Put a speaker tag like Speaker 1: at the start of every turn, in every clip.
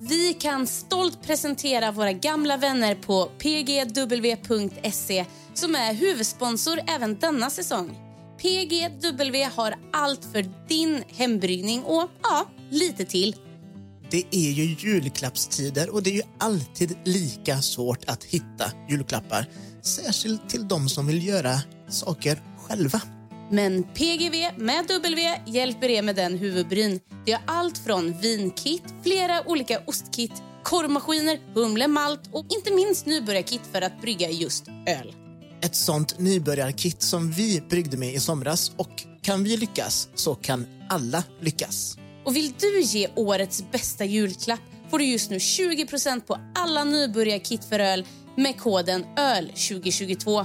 Speaker 1: Vi kan stolt presentera våra gamla vänner på pgw.se E, som är huvudsponsor även denna säsong. PGW har allt för din hembryggning och ja, lite till.
Speaker 2: Det är ju julklappstider och det är ju alltid lika svårt att hitta julklappar. Särskilt till de som vill göra saker själva.
Speaker 1: Men PGV med W hjälper er med den huvudbryn. Det är allt från vinkit, flera olika ostkit, korvmaskiner, humle, malt och inte minst nybörjarkit för att brygga just öl.
Speaker 2: Ett sånt nybörjarkit som vi bryggde med i somras och kan vi lyckas så kan alla lyckas.
Speaker 1: Och vill du ge årets bästa julklapp får du just nu 20% på alla nybörjarkit för öl med koden ÖL2022.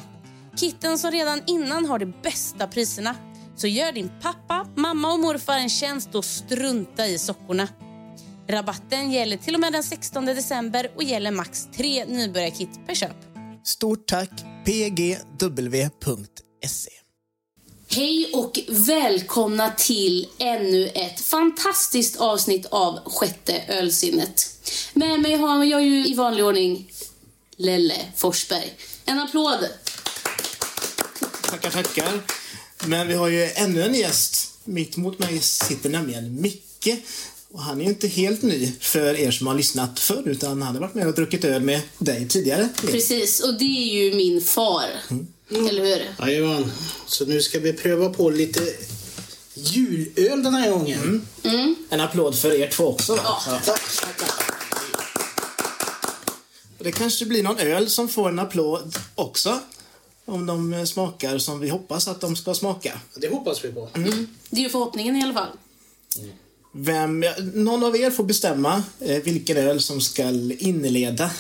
Speaker 1: Kitten som redan innan har de bästa priserna. Så gör din pappa, mamma och morfar en tjänst och strunta i sockorna. Rabatten gäller till och med den 16 december och gäller max tre nybörjarkit per köp.
Speaker 2: Stort tack pgw.se.
Speaker 1: Hej och välkomna till ännu ett fantastiskt avsnitt av Sjätte ölsinnet. Med mig har jag ju i vanlig ordning Lelle Forsberg. En applåd!
Speaker 2: Tackar, tackar. Men vi har ju ännu en gäst. Mitt mot mig sitter nämligen Micke. Och han är ju inte helt ny för er som har lyssnat förr, utan han har varit med och druckit öl med dig tidigare.
Speaker 1: Precis, och det är ju min far. Eller hur?
Speaker 3: Jajamän. Så nu ska vi pröva på lite julöl den här gången.
Speaker 2: En applåd för er två också. Va? Ja.
Speaker 3: Tack, tackar.
Speaker 2: Och Det kanske blir någon öl som får en applåd också. Om de eh, smakar som vi hoppas att de ska smaka.
Speaker 3: Det hoppas vi på.
Speaker 1: Det är ju förhoppningen i alla fall.
Speaker 2: Vem, ja, någon av er får bestämma eh, vilken öl som ska inleda.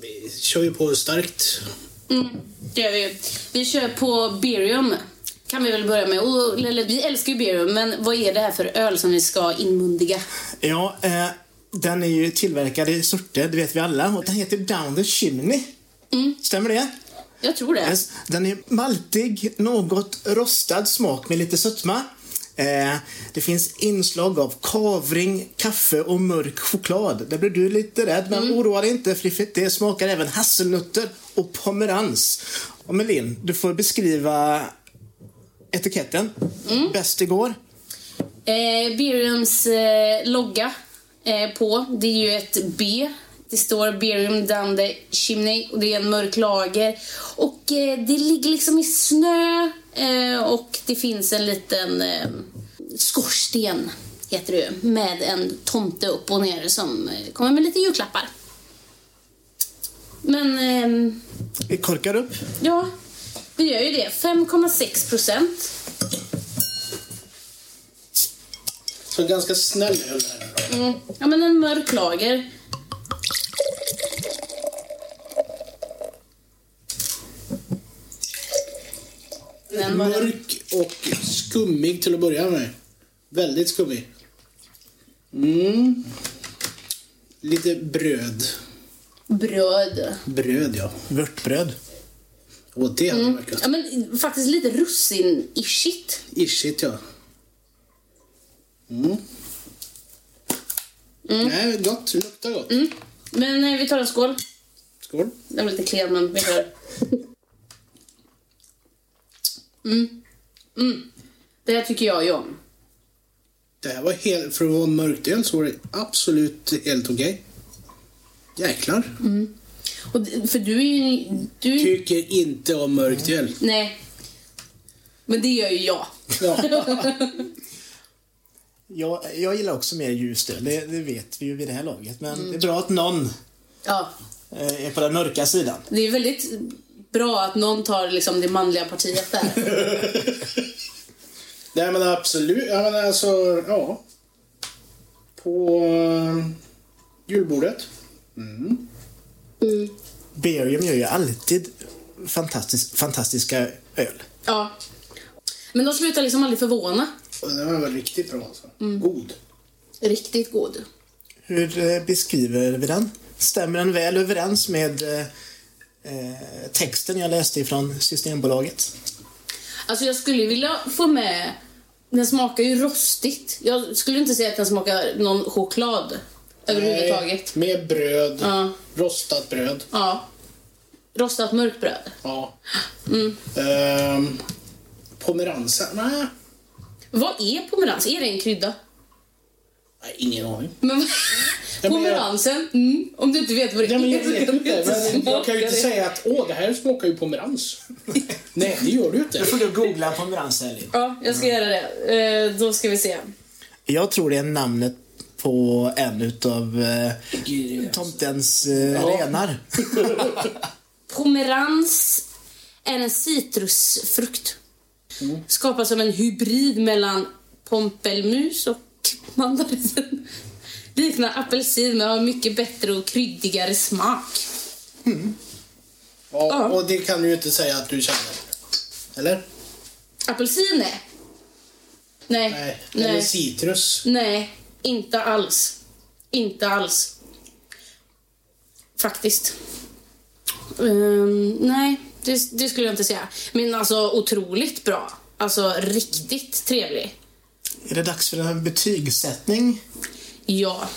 Speaker 3: Vi kör ju på starkt.
Speaker 1: Mm, Det gör vi. Vi kör på Berium. Kan vi väl börja med. Och, Lelle, vi älskar ju Berium, men vad är det här för öl som vi ska inmundiga?
Speaker 2: Ja, eh, den är ju tillverkad i Surte, det vet vi alla. Och den heter Down the Chimney. Stämmer det?
Speaker 1: Jag tror det.
Speaker 2: Yes. Den är maltig, något rostad smak med lite sötma. Eh, det finns inslag av kavring, kaffe och mörk choklad. Där blir du lite rädd, men oroa dig inte Fliffigt. Det smakar även hasselnötter och pomerans. Och Melin, du får beskriva etiketten. Bäst igår.
Speaker 1: Eh, Beriums eh, logga eh, på, det är ju ett B. Det står Berium down the chimney och det är en mörk lager. Och eh, det ligger liksom i snö eh, och det finns en liten eh, skorsten, heter det ju, med en tomte upp och ner som eh, kommer med lite julklappar. Men, ehm,
Speaker 2: Vi korkar upp.
Speaker 1: ja, vi gör ju det. 5,6 procent.
Speaker 3: Så en ganska snäll öl där.
Speaker 1: Mm. Ja, men en mörk lager. Den var
Speaker 3: Mörk och skummig till att börja med. Väldigt skummig. Mm. Lite bröd.
Speaker 1: bröd.
Speaker 3: Bröd, ja.
Speaker 2: Vörtbröd.
Speaker 3: Och det hade varit gott.
Speaker 1: Ja, men faktiskt lite russin-ishigt.
Speaker 3: Ishigt, ja. Mm. Nej, gott. Luktar gott.
Speaker 1: Men eh, vi tar en skål.
Speaker 3: Skål.
Speaker 1: Den var lite klen, men vi kör. Mm. Mm. Mm. Det här tycker jag ju om.
Speaker 3: Det här var helt, för att vara en mörkt öl så var det absolut helt okej. Jäklar.
Speaker 1: Och, d- för du är ju... Du,
Speaker 3: Tycker inte om mörkt öl.
Speaker 1: nej. Men det gör ju jag.
Speaker 3: Ja.
Speaker 2: Jag, Mm. jag gillar också mer ljust öl, det, det vet vi ju vid det här laget. Men det är bra att någon
Speaker 1: Ja.
Speaker 2: eh, är på den mörka sidan.
Speaker 1: Det är väldigt bra att någon tar liksom det manliga partiet där.
Speaker 3: Nej men absolut, ja men alltså, ja. På eh, julbordet.
Speaker 2: Berium gör ju alltid fantastisk, fantastiska öl.
Speaker 1: Ja. Men de slutar liksom aldrig förvåna.
Speaker 3: Och Den var väl riktigt bra alltså. God.
Speaker 1: Riktigt god.
Speaker 2: Hur eh, beskriver vi den? Stämmer den väl överens med eh, eh, texten jag läste ifrån Systembolaget?
Speaker 1: Alltså jag skulle vilja få med... Den smakar ju rostigt. Jag skulle inte säga att den smakar någon choklad överhuvudtaget.
Speaker 3: Nej, Med bröd. Rostat bröd.
Speaker 1: Ja. Rostat mörkt bröd.
Speaker 3: Ja. Ehm, pomeranza? Nej.
Speaker 1: Vad är pomerans? Är det en krydda?
Speaker 3: Nej, ingen aning.
Speaker 1: Men,
Speaker 3: jag-
Speaker 1: pomeransen? Mm, om du inte vet vad det
Speaker 3: Ja, men jag
Speaker 1: är så
Speaker 3: vet
Speaker 1: kan du
Speaker 3: inte. Men jag kan ju inte
Speaker 1: smaka det.
Speaker 3: säga att åh, det här smakar ju pomerans. Nej, det gör du ju inte.
Speaker 2: Nu får du googla pomerans, Elin.
Speaker 1: Ja, jag
Speaker 3: Mm.
Speaker 1: ska göra det. Eh, då ska vi se.
Speaker 2: Jag tror det är namnet på en utav eh, tomtens eh, renar.
Speaker 1: Pomerans är en citrusfrukt. Skapas som en hybrid mellan pompelmus och mandarin. Liknar apelsin men har mycket bättre och kryddigare smak.
Speaker 3: Ja, och det kan du ju inte säga att du känner. Eller?
Speaker 1: Apelsin är? Nej.
Speaker 3: Nej. Eller
Speaker 1: Nej.
Speaker 3: citrus.
Speaker 1: Nej, inte alls. Inte alls. Faktiskt. Ehm, nej, det, det skulle jag inte säga. Men alltså otroligt bra. Alltså riktigt trevlig.
Speaker 2: Är det dags för en betygssättning?
Speaker 1: Ja.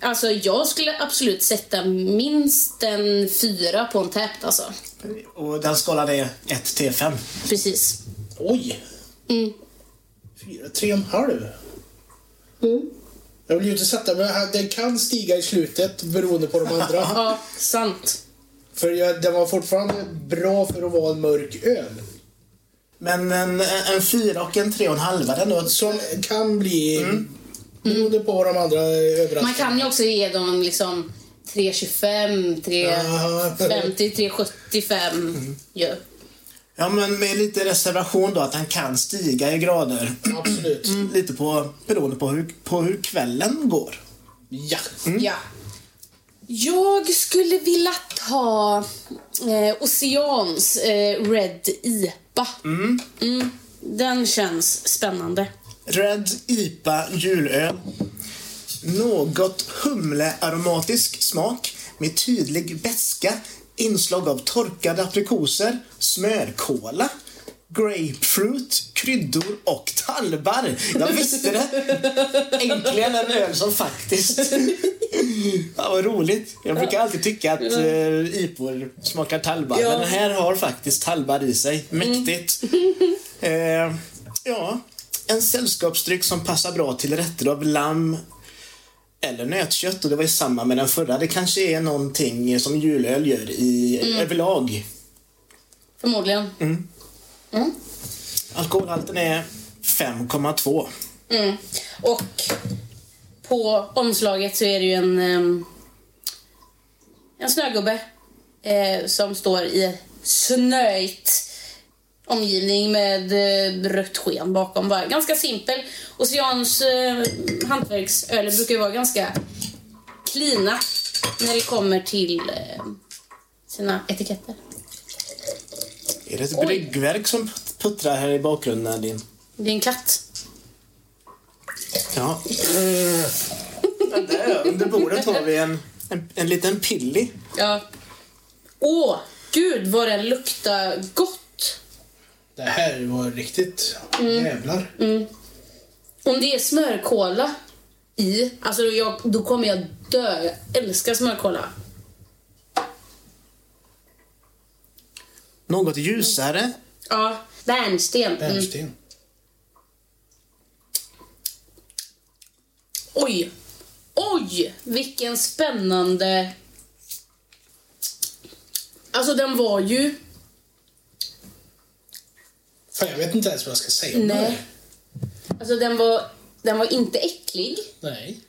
Speaker 1: Alltså jag skulle absolut sätta minst en fyra på en täppt alltså.
Speaker 2: Och den skalan är 1 till 5.
Speaker 1: Precis.
Speaker 3: Oj!
Speaker 1: Mm.
Speaker 3: Fyra, tre och en halv.
Speaker 1: Mm.
Speaker 3: Jag vill ju inte sätta men den kan stiga i slutet beroende på de andra.
Speaker 1: Ja, sant.
Speaker 3: för jag, den var fortfarande bra för att vara en mörk öl.
Speaker 2: Men en, en fyra och en tre och en halva, den då.
Speaker 3: Som kan bli, beroende på vad de andra överraskar.
Speaker 1: Mm. Man kan ju också ge dem liksom 3,25, 3,50, 3,75. Ja.
Speaker 2: Ja, men med lite reservation då att den kan stiga i grader. Mm.
Speaker 3: Absolut.
Speaker 2: Lite på, beroende på hur, på hur kvällen går.
Speaker 3: Ja.
Speaker 1: Ja. Jag skulle vilja ta eh, Oceans eh, Red IPA. Mm. Den känns spännande.
Speaker 2: Red IPA julöl. Något humlearomatisk smak med tydlig beska, inslag av torkade aprikoser, smörkola, grapefruit, kryddor och tallbar. Jag visste det! Äntligen en öl som faktiskt... Ja, vad roligt. Jag brukar alltid tycka att eh, IPOR smakar tallbar, men den här har faktiskt tallbar i sig. Mäktigt. Eh, ja, en sällskapsdryck som passar bra till rätter av lamm eller nötkött och det var ju samma med den förra. Det kanske är någonting som julöl gör i överlag.
Speaker 1: Mm.
Speaker 2: Mm.
Speaker 1: Förmodligen. Mm.
Speaker 2: Alkoholhalten är 5,2.
Speaker 1: Mm. Och på omslaget så är det ju en, ehm, en snögubbe eh, som står i snöigt omgivning med eh, rött sken bakom. Bara. Ganska simpel. Oceans eh, hantverksöl brukar ju vara ganska klina när det kommer till eh, sina etiketter.
Speaker 2: Är det ett
Speaker 1: Oj.
Speaker 2: bryggverk som put- puttrar här i bakgrunden din?
Speaker 1: Det är en katt.
Speaker 2: Ja. Men där under bordet har vi en, en, en liten pilli.
Speaker 1: Ja. Åh, gud vad den luktar gott!
Speaker 3: Det här var riktigt...
Speaker 1: Mm.
Speaker 3: Jävlar.
Speaker 1: Om det är smörkola i, alltså jag, då kommer jag dö. Jag älskar smörkola.
Speaker 2: Något ljusare.
Speaker 1: Ja, bärnsten. Mm.
Speaker 3: Bärnsten.
Speaker 1: Oj! Oj! Vilken spännande... Alltså den var ju...
Speaker 3: Fan, jag vet inte ens vad jag ska säga om det
Speaker 1: Nej.
Speaker 3: här.
Speaker 1: Alltså den var, den var inte äcklig,
Speaker 3: Nej.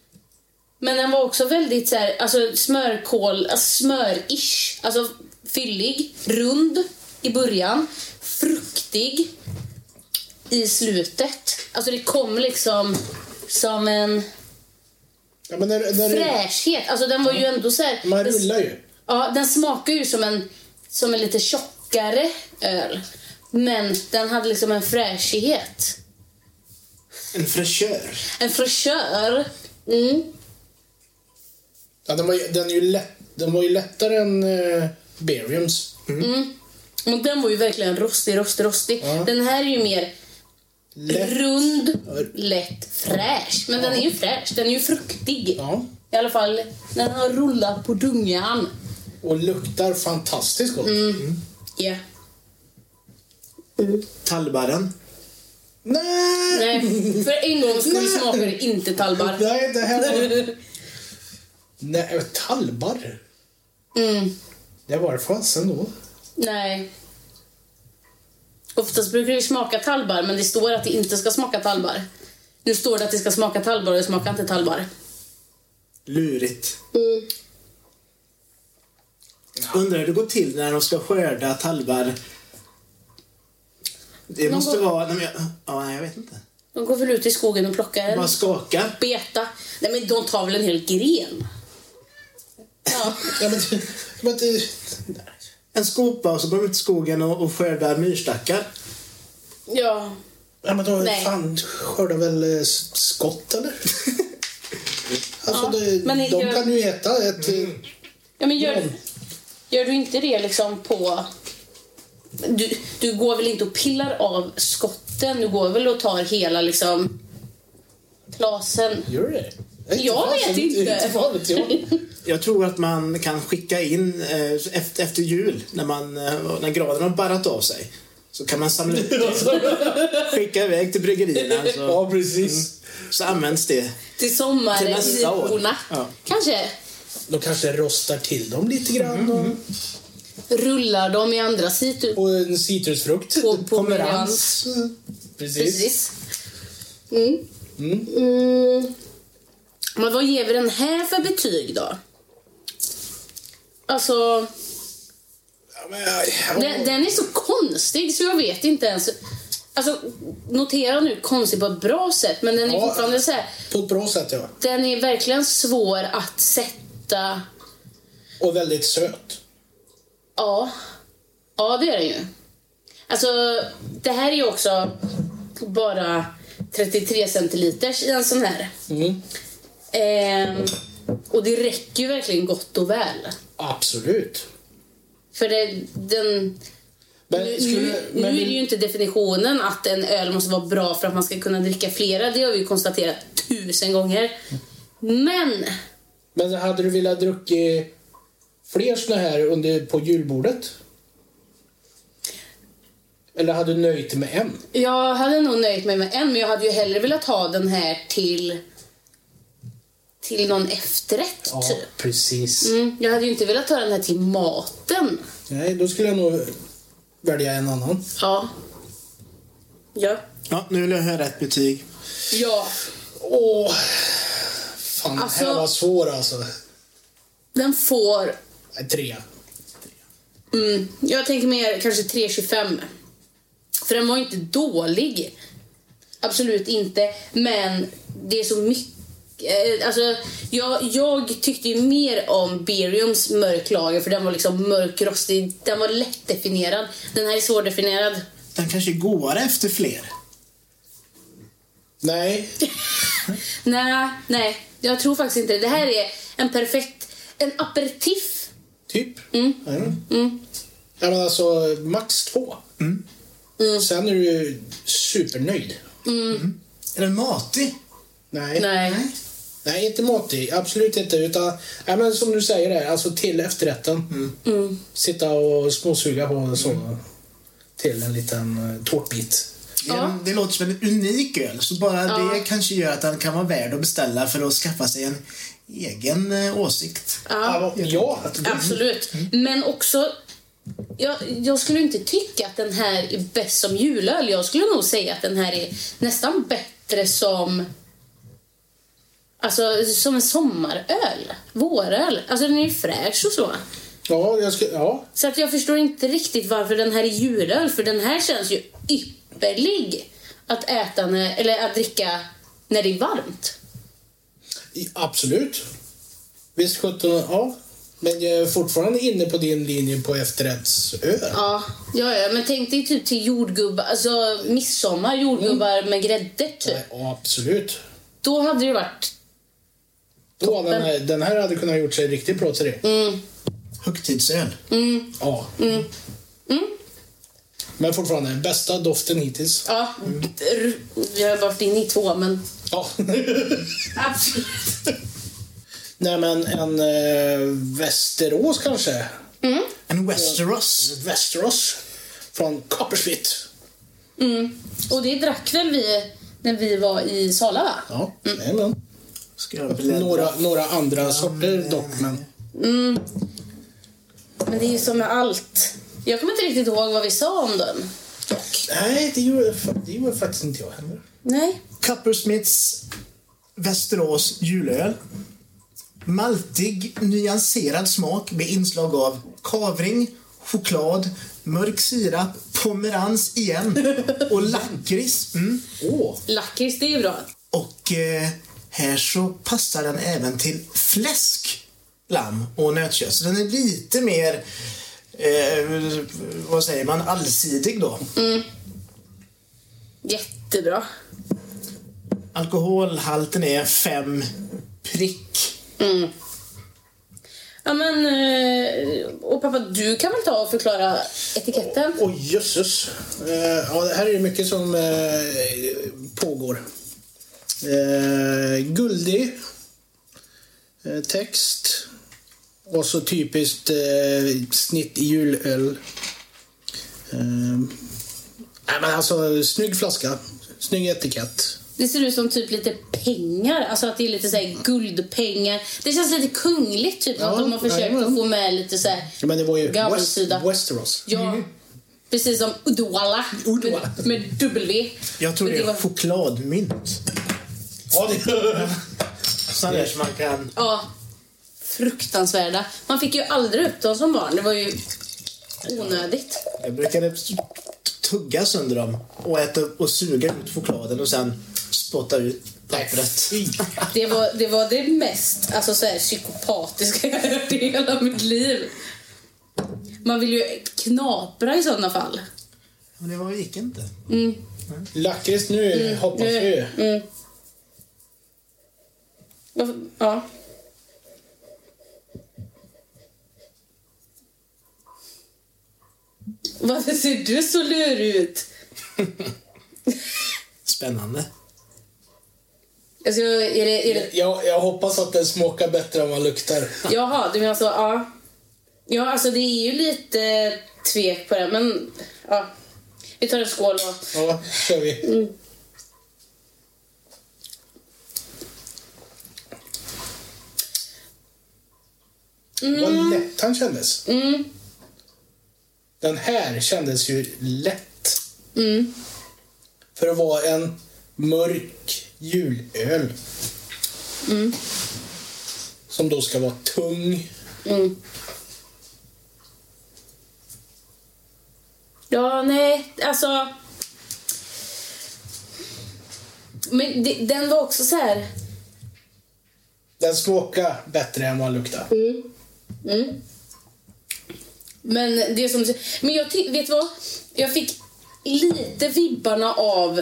Speaker 4: Men den var också väldigt så här, alltså smörkål, alltså smörish. Alltså fyllig, rund i början, fruktig i slutet. Alltså det kom liksom som en
Speaker 3: Ja, men när, när du-
Speaker 4: fräschhet. Alltså den var ju ändå så här...
Speaker 3: man
Speaker 4: den-
Speaker 3: rullar ju.
Speaker 4: Ja, den smakar ju som en, som en lite tjockare öl. Men den hade liksom en fräschhet.
Speaker 2: En fräschör.
Speaker 4: En fräschör. Mm.
Speaker 3: Ja, den, var ju, den, är ju lätt, den var ju lättare än uh, Beriums.
Speaker 4: Men den var ju verkligen rostig, rostig, rostig. Den här är ju mer
Speaker 3: Lätt.
Speaker 4: rund, lätt, fräsch. Men den är ju fräsch. Den är ju fruktig.
Speaker 3: Ja.
Speaker 4: I alla fall när den har rullat på dungan.
Speaker 3: Och luktar fantastiskt gott.
Speaker 4: Mm. Ja.
Speaker 2: Tallbarren.
Speaker 3: Nej!
Speaker 4: Nej, för en gång skulle smaka det inte tallbarr.
Speaker 3: Nej, det här var... Nej, tallbarr.
Speaker 4: Mm.
Speaker 3: Det var det fasen då.
Speaker 4: Nej. Oftast brukar det ju smaka tallbar, men det står att det inte ska smaka tallbar. Nu står det att det ska smaka tallbar och det smakar inte tallbar.
Speaker 2: Lurigt.
Speaker 4: Mm.
Speaker 2: Undrar hur det går till när de ska skörda tallbar. Det
Speaker 4: Någon
Speaker 2: måste
Speaker 4: gång-
Speaker 2: vara... Nej, men jag, ja, nej, jag vet inte.
Speaker 4: De går väl ut i skogen och plockar en
Speaker 2: Bara skaka.
Speaker 4: beta. Nej men de tar väl en hel gren? Ja.
Speaker 3: Ja, men, det- men det,
Speaker 2: En skopa och så går de ut i skogen och, och skördar myrstackar.
Speaker 4: ja.
Speaker 3: ja, men då
Speaker 4: Nej.
Speaker 3: fan skördar väl eh, s- skott eller? alltså, det,
Speaker 4: men
Speaker 3: de
Speaker 4: jag-
Speaker 3: kan ju äta ett... eh,
Speaker 4: Ja men gör, gör du inte det liksom på... Du, du går väl inte och pillar av skotten? Du går väl och tar hela liksom... Klasen?
Speaker 3: Gör det? inte
Speaker 4: Jag
Speaker 3: fasen-
Speaker 4: vet inte.
Speaker 3: inte fan vet jag.
Speaker 2: Jag tror att man kan skicka in eh, efter, efter jul, när, man, eh, när granen har barrat av sig, så kan man samla ut det. Skicka iväg till bryggerierna. Så,
Speaker 3: Ja, precis.
Speaker 2: så används det.
Speaker 4: Till sommaren?
Speaker 2: Till nästa år.
Speaker 4: Riporna.
Speaker 2: Ja.
Speaker 4: Kanske?
Speaker 3: De kanske rostar till dem lite grann.
Speaker 4: Mm-hmm.
Speaker 3: och-
Speaker 4: rullar de i andra situ
Speaker 3: Och en citrusfrukt.
Speaker 4: på, på miljöns.
Speaker 3: Pomerans. Precis.
Speaker 4: Precis. Mm. Mm. Men vad ger vi den här för betyg då? Alltså,
Speaker 3: Ja, men, ja, ja.
Speaker 4: den, den är så konstig så jag vet inte ens. Alltså, notera nu konstig på ett bra sätt, men den är
Speaker 3: Ja.
Speaker 4: fortfarande så här.
Speaker 3: På ett bra sätt, ja.
Speaker 4: Den är verkligen svår att sätta.
Speaker 3: Och väldigt söt.
Speaker 4: Ja. Ja, det är den ju. Alltså, det här är ju också bara 33 centiliters i en sån här.
Speaker 3: Mm.
Speaker 4: Ehm, och det räcker ju verkligen gott och väl.
Speaker 3: Absolut.
Speaker 4: För det, den...
Speaker 3: Men
Speaker 4: Nu,
Speaker 3: skulle-
Speaker 4: nu,
Speaker 3: men
Speaker 4: nu är det
Speaker 3: vill-
Speaker 4: ju inte definitionen att en öl måste vara bra för att man ska kunna dricka flera. Det har vi ju konstaterat tusen gånger. Men
Speaker 3: Men hade du velat druckit fler såna här under, på julbordet? Eller hade du nöjt dig med en?
Speaker 4: Jag hade nog nöjt mig med en, men jag hade ju hellre velat ha den här till till någon efterrätt, typ.
Speaker 3: precis.
Speaker 4: Mm, jag hade ju inte velat ha den här till maten.
Speaker 3: Nej, då skulle jag nog välja en annan.
Speaker 4: Ja. Ja.
Speaker 2: Ja, nu vill jag höra ett betyg.
Speaker 4: Ja.
Speaker 3: Åh, fan
Speaker 4: Alltså-
Speaker 3: den här var svår alltså.
Speaker 4: Den får...
Speaker 3: Nej, Tre.
Speaker 4: Mm, jag tänker mer kanske 3,25. För den var inte dålig. Absolut inte. Men det är så mycket... eh, Alltså, jag, jag tyckte ju mer om Beriums mörk lager för den var liksom mörk, rostig. Den var lättdefinierad. Den här är svårdefinierad.
Speaker 2: Den kanske är godare efter fler.
Speaker 3: Nej,
Speaker 4: Nej, nej. Jag tror faktiskt inte det. Det här är en perfekt... En aperitif.
Speaker 3: typ.
Speaker 4: Mm.
Speaker 3: Nej. Ja, men alltså max två.
Speaker 4: Mm.
Speaker 3: Sen är du supernöjd.
Speaker 2: Är den matig?
Speaker 4: Nej.
Speaker 3: Nej, inte matig. Absolut inte. Utan, nej, men som du säger, där, alltså till efterrätten.
Speaker 4: Mm.
Speaker 3: Sitta och småsuga på så. Till en liten eh, tårtbit.
Speaker 2: Det, är en- det låter som en unik öl, så bara det kanske gör att den kan vara värd att beställa för att skaffa sig en egen eh, åsikt.
Speaker 3: Ja, ja
Speaker 4: Absolut. Men också... Jag, jag skulle inte tycka att den här är bäst som julöl. Jag skulle nog säga att den här är nästan bättre som... Alltså som en sommaröl. Våröl. Alltså den är ju fräsch och så.
Speaker 3: Ja, jag ska, ja.
Speaker 4: Så att jag förstår inte riktigt varför den här är julöl. För den här känns ju ypperlig att äta när, eller att dricka när det är varmt.
Speaker 3: I- absolut. Visst sjutton, ja. Men jag är fortfarande inne på din linje på efterrättsöl.
Speaker 4: Ja, ja, ja men tänk dig typ till jordgubbar, alltså midsommar, jordgubbar med grädde typ.
Speaker 3: Nej, ja, absolut.
Speaker 4: Då hade det varit...
Speaker 3: Då, den, här, den här hade kunnat gjort sig riktigt bra till det.
Speaker 2: Högtidsöl.
Speaker 3: Ja. Men fortfarande, bästa doften hittills.
Speaker 4: Ja, r- vi har bara varit inne i två men...
Speaker 3: Ja.
Speaker 4: Absolut.
Speaker 3: Nej men en eh, Västerås kanske?
Speaker 2: En Westeros.
Speaker 3: Västerås. Från Coppersmith.
Speaker 4: Mm. Och det drack väl vi när vi var i Sala va?
Speaker 3: Ja, jajamän.
Speaker 2: Ska jag bläddra?
Speaker 3: några, några andra sorter dock men.
Speaker 4: Men det är ju som med allt. Jag kommer inte riktigt ihåg vad vi sa om den.
Speaker 3: Nej, det gjorde, det gjorde faktiskt inte jag heller.
Speaker 4: Nej.
Speaker 2: Coppersmiths Västerås julöl. Maltig, nyanserad smak med inslag av kavring, choklad, mörk sirap, pomerans igen och lakrits. Mm.
Speaker 3: Åh,
Speaker 4: Lakrits, det är ju bra.
Speaker 2: Och eh, här så passar den även till fläsk, lamm och nötkött. Så den är lite mer, eh, vad säger man, allsidig då.
Speaker 4: Mm. Jättebra.
Speaker 2: Alkoholhalten är fem prick.
Speaker 4: Ja men... eh, Och pappa, du kan väl ta och förklara etiketten?
Speaker 3: Åh jösses. Eh, ja, det här är mycket som eh, pågår. Eh, guldig eh, text. Och så typiskt eh, snitt i julöl. Eh, nej, men alltså, snygg flaska. Snygg etikett.
Speaker 4: Det ser ut som typ lite pengar, alltså att det är lite så här guldpengar. Det känns lite kungligt typ,
Speaker 3: Ja,
Speaker 4: att de har försökt
Speaker 3: jajamän.
Speaker 4: att få med lite så här...
Speaker 3: Ja, Men det var ju
Speaker 4: Gammal
Speaker 3: West,
Speaker 4: sida.
Speaker 3: Westeros.
Speaker 4: Ja, precis som Uddevalla.
Speaker 3: Uddevalla.
Speaker 4: Med, med W.
Speaker 2: Jag tror
Speaker 4: Men
Speaker 2: det är
Speaker 4: var-
Speaker 2: chokladmynt.
Speaker 3: Ja, det...
Speaker 2: Sådana där som man kan...
Speaker 4: Ja, fruktansvärda. Man fick ju aldrig upp dem som barn. Det var ju onödigt.
Speaker 2: Jag brukade t- tugga sönder dem och äta upp och suga ut chokladen och sen spotta ut pappret.
Speaker 4: Det var det, var det mest alltså så här, psykopatiska jag hört i hela mitt liv. Man vill ju knapra i sådana fall.
Speaker 2: Men det var gick inte.
Speaker 4: Mm.
Speaker 3: Lakrits nu hoppas vi ju.
Speaker 4: Varför- Ja. Varför ser du så lurig ut?
Speaker 2: Spännande.
Speaker 4: Alltså, är det, är det
Speaker 3: Jag, jag hoppas att den smakar bättre än vad den luktar.
Speaker 4: Jaha, du menar så. Ja. ja, alltså det är ju lite tvek på det, men ja. Vi tar en skål då.
Speaker 3: Ja, kör vi. Vad lätt han kändes. Den här kändes ju lätt. För att vara en mörk julöl. Som då ska vara tung.
Speaker 4: Ja, nej, alltså. Men det, den var också så här.
Speaker 3: Den smakar bättre än vad den luktar.
Speaker 4: Men det är som Men jag ty- vet du vad? Jag fick lite vibbarna av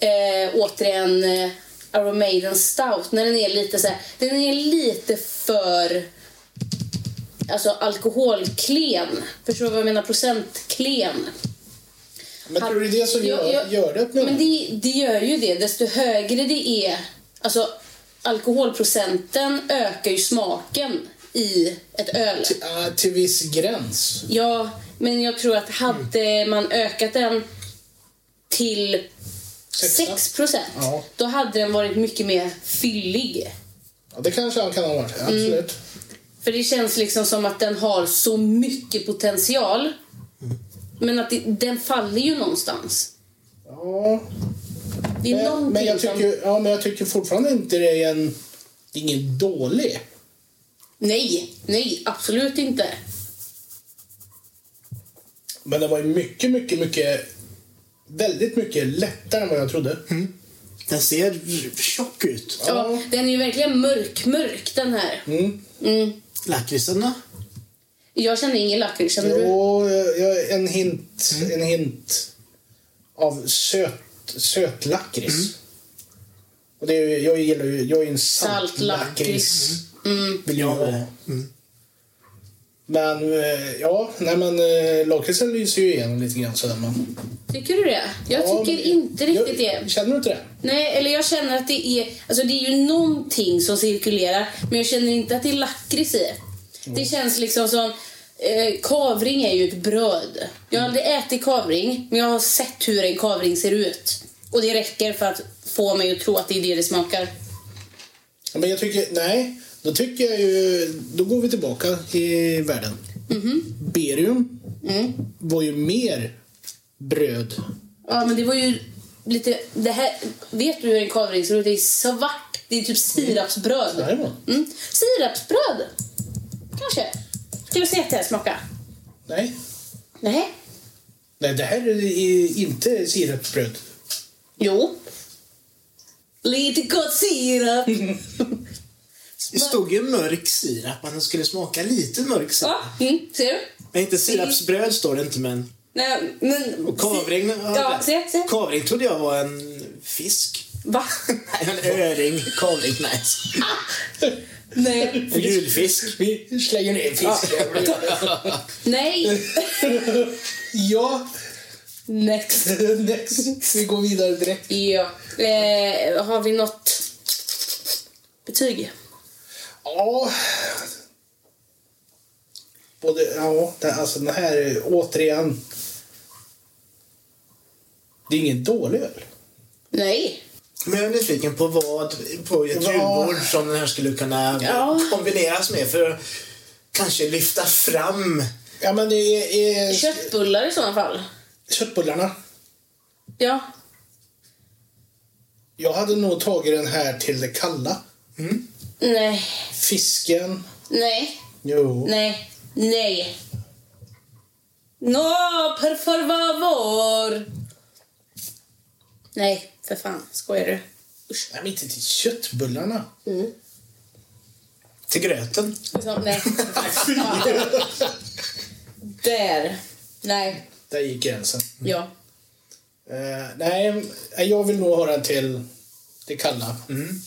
Speaker 4: eh, återigen eh, Iron Maiden Stout. När den är lite så här, Den är lite för alltså alkoholklen. Förstår du vad jag menar? Procentklen.
Speaker 3: Men tror du det är det som gör,
Speaker 4: Jag- jag-
Speaker 3: gör det? öppnar?
Speaker 4: Men det, det gör ju det. Desto högre det är... Alltså alkoholprocenten ökar ju smaken i ett öl.
Speaker 3: Ja, till viss gräns.
Speaker 4: Ja, men jag tror att
Speaker 3: Mm.
Speaker 4: hade man ökat den till 6 procent,
Speaker 3: Ja.
Speaker 4: då hade den varit mycket mer fyllig.
Speaker 3: Ja, det kanske han kan ha varit. Absolut.
Speaker 4: För det känns liksom som att den har så mycket potential.
Speaker 3: Mm.
Speaker 4: Men att det, den faller ju någonstans.
Speaker 3: Ja.
Speaker 4: Det är
Speaker 3: Men,
Speaker 4: någonting
Speaker 3: men, jag
Speaker 4: som-
Speaker 3: tycker, ja, men jag tycker fortfarande inte det är en Det är ingen dålig.
Speaker 4: Nej, nej, absolut inte.
Speaker 3: Men den var ju mycket, mycket, mycket... Väldigt mycket lättare än vad jag trodde.
Speaker 2: Den ser tjock ut.
Speaker 4: Ja, den är ju verkligen mörk, mörk den här. Mm.
Speaker 2: Lakritsen då?
Speaker 4: Jag känner ingen lakrits, känner du?
Speaker 3: Jo, eh, jag, en hint. En hint av söt, söt lakrits. Och det är, ju- jag gillar ju... Jag är ju en salt lakrits.
Speaker 4: Saltlakrits. Mm.
Speaker 3: Vill jag ha. Men eh, ja, nej men eh, lakritsen lyser ju igenom lite grann sådär. Men,
Speaker 4: Tycker du det? Jag
Speaker 3: Ja,
Speaker 4: tycker inte riktigt
Speaker 3: jag,
Speaker 4: det.
Speaker 3: Känner du inte det?
Speaker 4: Nej, eller jag känner att det är... Alltså det är ju någonting som cirkulerar, men jag känner inte att det är lakrits i. Det känns liksom som... Eh, kavring är ju ett bröd. Jag har aldrig ätit kavring, men jag har sett hur en kavring ser ut. Och det räcker för att få mig att tro att det är det det smakar.
Speaker 3: Ja, Men jag tycker, nej. Då tycker jag ju, då går vi tillbaka i världen.
Speaker 4: Mhm.
Speaker 3: Berium
Speaker 4: Mm.
Speaker 3: var ju mer bröd.
Speaker 4: Ja, men det var ju lite... Det här, vet du hur en kavring ser ut? Det är svart. Det är typ sirapsbröd.
Speaker 3: Det här var.
Speaker 4: Mm. Sirapsbröd! Kanske. Ska vi se att det här smakar?
Speaker 3: Nej.
Speaker 4: Nej.
Speaker 3: nej, det här är inte sirapsbröd.
Speaker 4: Jo. Lite gott sirap.
Speaker 2: Mm. Det stod ju mörk sirap, att den skulle smaka lite mörk sirap.
Speaker 4: Ja, mm, ser du?
Speaker 2: Men inte sirapsbröd står det inte, men...
Speaker 4: Nej, men...
Speaker 2: Och kavring...
Speaker 4: Ja, se, se.
Speaker 2: Kavring trodde jag var en fisk.
Speaker 4: Va?
Speaker 2: Nej, en öring. Kavring, nej.
Speaker 4: Nej.
Speaker 2: En julfisk.
Speaker 3: Vi slänger ner fisk.
Speaker 4: Nej.
Speaker 3: ja,
Speaker 4: Next.
Speaker 3: next. Vi går vidare direkt.
Speaker 4: Ja. Eh, har vi något betyg?
Speaker 3: Ja. Både, ja, det- alltså den här är återigen. Det är ingen dålig öl.
Speaker 4: Nej.
Speaker 2: Men jag är nyfiken på vad på ett
Speaker 3: Ja.
Speaker 2: julbord som den här skulle kunna
Speaker 4: Ja.
Speaker 2: kombineras med för att kanske lyfta fram
Speaker 3: Ja, men det är, är
Speaker 4: Köttbullar i sådana fall.
Speaker 3: köttbullarna.
Speaker 4: Ja.
Speaker 3: Jag hade nog tagit den här till det kalla.
Speaker 4: Nej.
Speaker 3: Fisken.
Speaker 4: Nej.
Speaker 3: Jo.
Speaker 4: Nej. Nej. No, per favor! Nej, för fan. Skojar du?
Speaker 3: Usch, nej, men inte till köttbullarna.
Speaker 2: till gröten.
Speaker 4: Liksom, nej. Ja. Där. Nej.
Speaker 3: Där gick gränsen.
Speaker 4: Ja.
Speaker 3: Eh, nej, jag vill nog ha den till det kalla.
Speaker 2: Mm.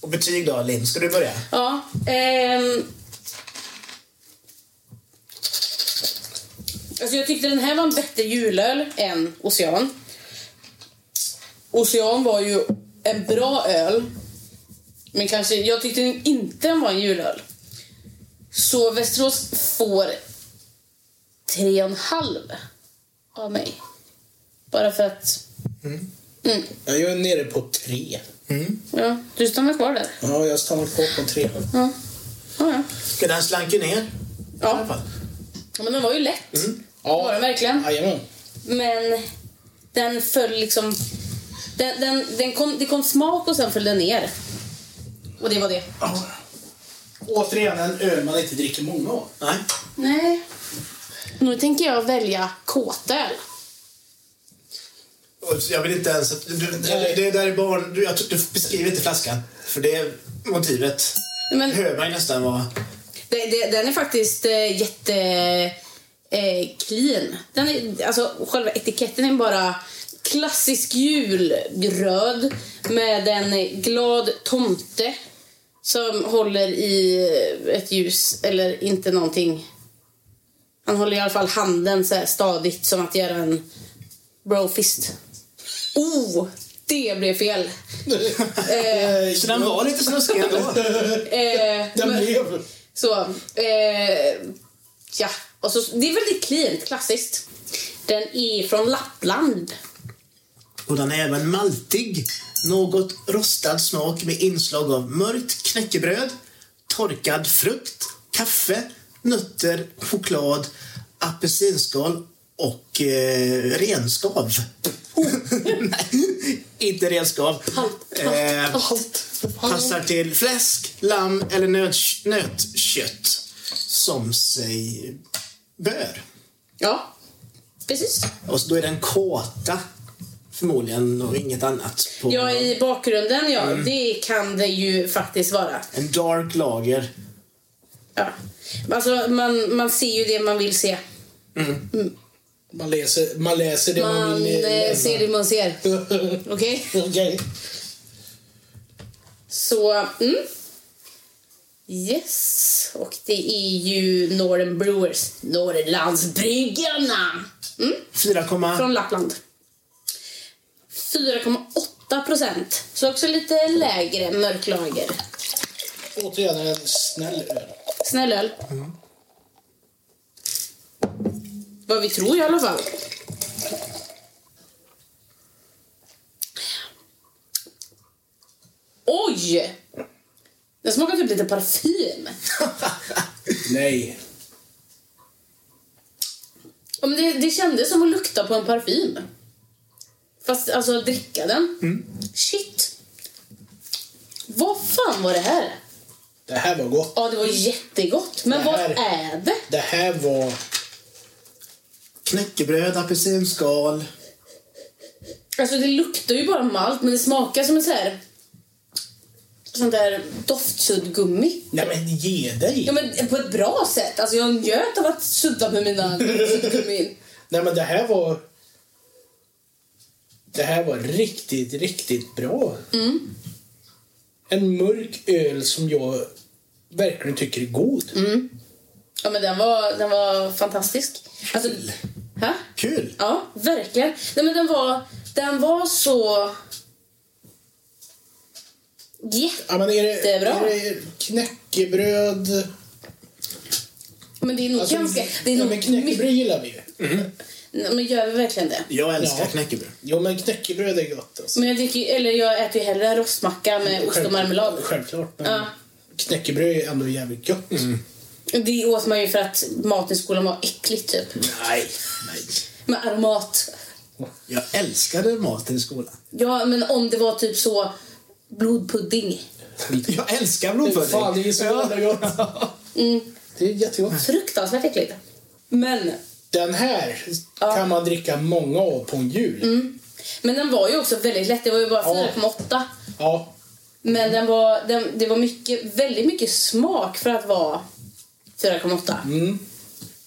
Speaker 2: Och betyg då, Linn? Ska du börja?
Speaker 4: Ja. Ehm. Alltså jag tyckte den här var en bättre julöl än Ocean. Ocean var ju en bra öl. Men kanske, jag tyckte den inte den var en julöl. Så Västerås får tre och en halv av mig. Bara för att...
Speaker 3: Ja, Jag är nere på tre.
Speaker 4: Ja, du stannar kvar där.
Speaker 3: Ja, jag stannar kvar på tre.
Speaker 4: Ja, ja.
Speaker 2: Men den slank ju ner. I alla
Speaker 4: ja.
Speaker 2: fall. Mm.
Speaker 4: ja men den var ju lätt.
Speaker 3: Ja,
Speaker 4: Det var den verkligen.
Speaker 3: Jajamän.
Speaker 4: Men den föll liksom... Den, den, den kom, det kom smak och sen föll den ner. Och det var det.
Speaker 3: Återigen en öl man inte dricker många av.
Speaker 2: Nej.
Speaker 4: Nej. Nu tänker jag välja kåtöl.
Speaker 2: Och Jag vill inte ens att... Du, det, det där är barn... Du, jag, tror- du beskriver inte flaskan. För det är motivet.
Speaker 4: Men
Speaker 2: Hör man ju nästan vad...
Speaker 4: det, det, den är faktiskt eh, jätte... Eh, clean. Den är, alltså, själva etiketten är bara klassisk julröd med en glad tomte som håller i ett ljus eller inte någonting. Han håller i alla fall handen så här stadigt som att göra en brofist. Oh, det blev fel.
Speaker 2: Eh, Så den var lite snuskig ändå.
Speaker 4: Eh,
Speaker 3: Den
Speaker 4: men-
Speaker 3: blev...
Speaker 4: Så, eh, ja. Och så, det är väldigt cleant, klassiskt. Den är från Lappland.
Speaker 2: Och den är även maltig. Något rostad smak med inslag av mörkt knäckebröd, torkad frukt, kaffe, nötter, choklad, apelsinskal och eh, renskav. Nej, inte renskav.
Speaker 4: Halt, halt,
Speaker 2: Eh,
Speaker 4: halt.
Speaker 2: Passar till fläsk, lamm eller nöt, nötkött. Som sig bör.
Speaker 4: Ja, precis.
Speaker 2: Och så då är den kåta. Förmodligen och inget annat. På
Speaker 4: Ja, i bakgrunden, ja. Det kan det ju faktiskt vara.
Speaker 2: En dark lager.
Speaker 4: Ja. Alltså, man, man ser ju det man vill se.
Speaker 3: Man läser, man läser det man
Speaker 4: Man
Speaker 3: vill
Speaker 4: eh,
Speaker 3: läsa.
Speaker 4: ser det man ser. Okej?
Speaker 3: Okej.
Speaker 4: Så, mm. Yes. Och det är ju Northern Brewers. Norrlandsbryggarna! Mm.
Speaker 2: 4,8.
Speaker 4: Från Lappland. 4,8 procent. Så också lite lägre mörklager.
Speaker 3: Återigen en snäll öl.
Speaker 4: Snäll öl. Vad vi tror i alla fall. Oj! Den smakar typ lite parfym.
Speaker 3: Nej.
Speaker 4: Ja, men Det, det kändes som att lukta på en parfym. Fast alltså dricka den.
Speaker 3: Mm.
Speaker 4: Shit. Vad fan var det här?
Speaker 3: Det här var gott.
Speaker 4: Ja, det var jättegott. Men
Speaker 3: Det
Speaker 4: vad
Speaker 3: här-
Speaker 4: är det?
Speaker 3: Det här var...
Speaker 2: Knäckebröd, apelsinskal.
Speaker 4: Alltså det luktar ju bara malt, men det smakar som en så här... Sånt där doftsuddgummi.
Speaker 3: Nej men ge dig!
Speaker 4: Ja, men på ett bra sätt. Alltså jag njöt av att sudda med mina suddgummin.
Speaker 3: Nej men det här var... Det här var riktigt, riktigt bra.
Speaker 4: Mm.
Speaker 3: En mörk öl som jag verkligen tycker är god.
Speaker 4: Mm. Ja, men den var, den var fantastisk. Alltså, ha?
Speaker 2: Kul!
Speaker 4: Ja, verkligen. Nej, men den var, den var så... Jätte...
Speaker 3: Ja, men är det,
Speaker 4: Jättebra.
Speaker 3: Är det knäckebröd...
Speaker 4: Men det är nog
Speaker 3: Alltså,
Speaker 4: ganska... Det är
Speaker 3: ja,
Speaker 4: nog
Speaker 3: men knäckebröd gillar vi ju.
Speaker 4: mycket- men gör vi verkligen det?
Speaker 2: Jag älskar
Speaker 3: Ja.
Speaker 2: knäckebröd.
Speaker 3: Jo men knäckebröd är gott alltså.
Speaker 4: Men jag, dricker, ju- eller jag äter ju hellre rostmacka med Mm, ost och
Speaker 3: Självklart-
Speaker 4: marmelad.
Speaker 3: Självklart. Men
Speaker 4: Ja.
Speaker 3: Knäckebröd är ändå jävligt gott.
Speaker 4: Det åt man ju för att maten i skolan var äcklig typ.
Speaker 2: Nej, nej.
Speaker 4: Med aromat.
Speaker 2: Jag älskade maten i skolan.
Speaker 4: Ja, men om det var typ så blodpudding.
Speaker 2: Jag älskar
Speaker 3: Fy Fan, det är så jävla gott.
Speaker 4: Mm.
Speaker 3: Det är jättegott.
Speaker 4: Fruktansvärt äckligt. Men,
Speaker 3: Den här kan man dricka många av på en
Speaker 4: Mm.
Speaker 3: jul.
Speaker 4: men den var ju också väldigt lätt. Det var ju bara
Speaker 3: Ja.
Speaker 4: 4,8.
Speaker 3: Ja,
Speaker 4: Men den var, den, det var mycket, väldigt mycket smak för att vara 4,8.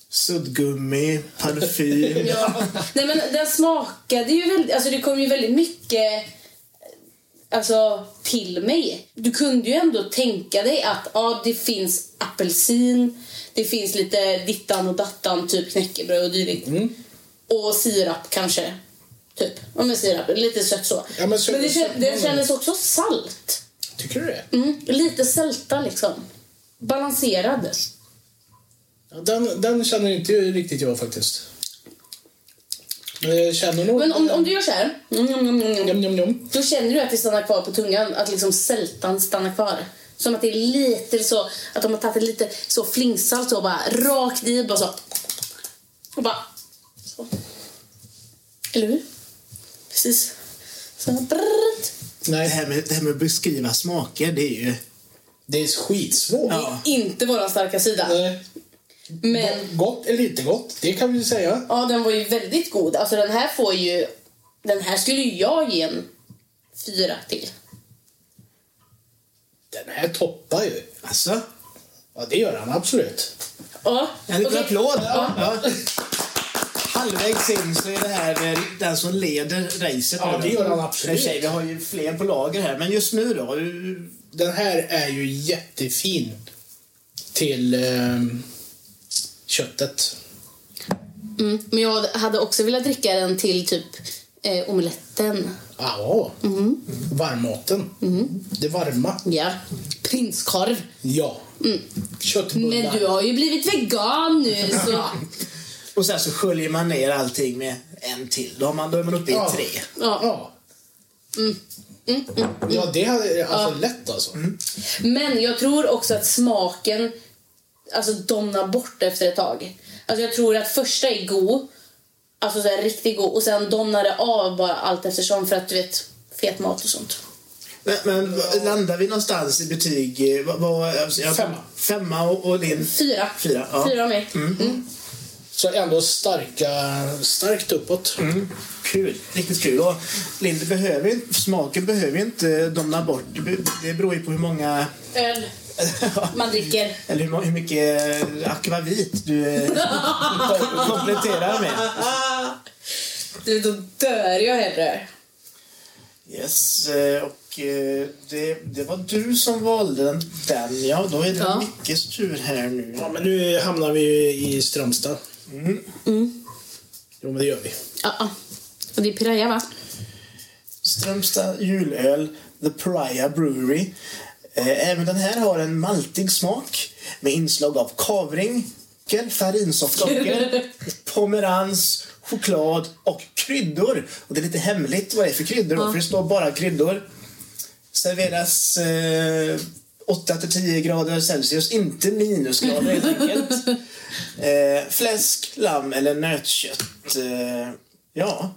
Speaker 2: Suddgummi, parfym.
Speaker 4: Ja. Nej men den smakade ju väldigt, alltså det kom ju väldigt mycket alltså, till mig. Du kunde ju ändå tänka dig att ja, det finns apelsin, det finns lite dittan och dattan, typ knäckebröd och dylikt. Och sirap kanske. Typ. Ja men sirap, lite sött så.
Speaker 3: Ja, men sött-
Speaker 4: det, kän-
Speaker 3: sött-
Speaker 4: det kändes också salt.
Speaker 3: tycker du det?
Speaker 4: Mm, lite sälta liksom. Balanserad.
Speaker 3: Ja, Den, den känner inte riktigt jag faktiskt. Men jag känner nog...
Speaker 4: Men om, om du gör så här, mm, mm, mm, mm,
Speaker 3: Njom, njom, njom.
Speaker 4: då känner du att det stannar kvar på tungan, att liksom sältan stannar kvar. Som att det är lite så, att de har tagit lite så flingsalt så bara rakt i bara så. Och bara så. Eller hur? Precis. Så här, brrrt.
Speaker 2: Det
Speaker 3: Nej,
Speaker 2: här, med, det här med att beskriva smaker, det är ju...
Speaker 3: det är skitsvårt.
Speaker 4: Det är inte vår starka sida.
Speaker 3: Eh,
Speaker 4: Men
Speaker 3: Gott eller inte gott, det kan vi ju säga.
Speaker 4: ja, den var ju väldigt god. Alltså den här får ju, den här skulle ju jag ge en fyra till.
Speaker 3: Den här toppar ju.
Speaker 2: Alltså?
Speaker 3: Ja, det gör han absolut.
Speaker 4: Ja.
Speaker 2: En liten
Speaker 4: okej.
Speaker 2: applåd.
Speaker 4: Ja.
Speaker 2: Ja. Halvvägs in så är det här eh, den som leder racet.
Speaker 3: Ja,
Speaker 2: nu.
Speaker 3: det gör han absolut.
Speaker 2: I och för sig, vi har ju fler på lager här, men just nu då? eh,
Speaker 3: Den här är ju jättefin till ehm, köttet.
Speaker 4: Mm, men jag hade också velat dricka den till typ eh, omeletten.
Speaker 3: ah, Ja, varmmaten. Det varma.
Speaker 4: Ja. Mm, Prinskorv. Mm.
Speaker 3: Ja. Köttbullar.
Speaker 4: Men du har ju blivit vegan nu så...
Speaker 2: Och sen så sköljer man ner allting med en till. Då, har man, då är man uppe i
Speaker 3: Ja.
Speaker 2: tre.
Speaker 3: Ja.
Speaker 4: Mm.
Speaker 3: Ja, det är alltså lätt alltså.
Speaker 4: Men jag tror också att smaken alltså domnar bort efter ett tag. Alltså jag tror att första är god, alltså så här riktigt god och sen domnar det av bara allt eftersom för att du vet fet mat och sånt.
Speaker 2: Men, men vad- landar vi någonstans i betyg? eh, Vad, vad, alltså, jag,
Speaker 3: Femma.
Speaker 2: Femma och, och din?
Speaker 4: Fyra. Mm.
Speaker 2: Fyra, ja.
Speaker 4: Fyra av mig.
Speaker 3: Så ändå starka, starkt uppåt.
Speaker 2: Mm. Kul. Riktigt kul. Och Lind behöver ju- smaken behöver ju inte domna bort. Det be- Det beror ju på hur många
Speaker 4: Öl man dricker.
Speaker 2: eller hur, må- hur mycket eh, akvavit du eh, kompletterar med.
Speaker 4: Du, då dör jag hellre.
Speaker 2: Yes, eh, och eh, det, det var du som valde den. den ja, då är det
Speaker 4: Ja.
Speaker 2: Mickes tur här nu.
Speaker 3: Ja, men nu hamnar vi ju i Strömstad. Jo, men det gör vi.
Speaker 4: Ja, ja. Och det är Piraya, va?
Speaker 2: Strömstad julöl, The Pariah Brewery. Eh, Även den här har en maltig smak med inslag av kavring, farinsoftsocker, pomerans, choklad och kryddor. Och det är lite hemligt vad det är för kryddor, då, för det står bara kryddor. Serveras eh, 8-10 grader Celsius, inte minusgrader helt enkelt. Eh, fläsk, lamm eller nötkött. Eh, ja.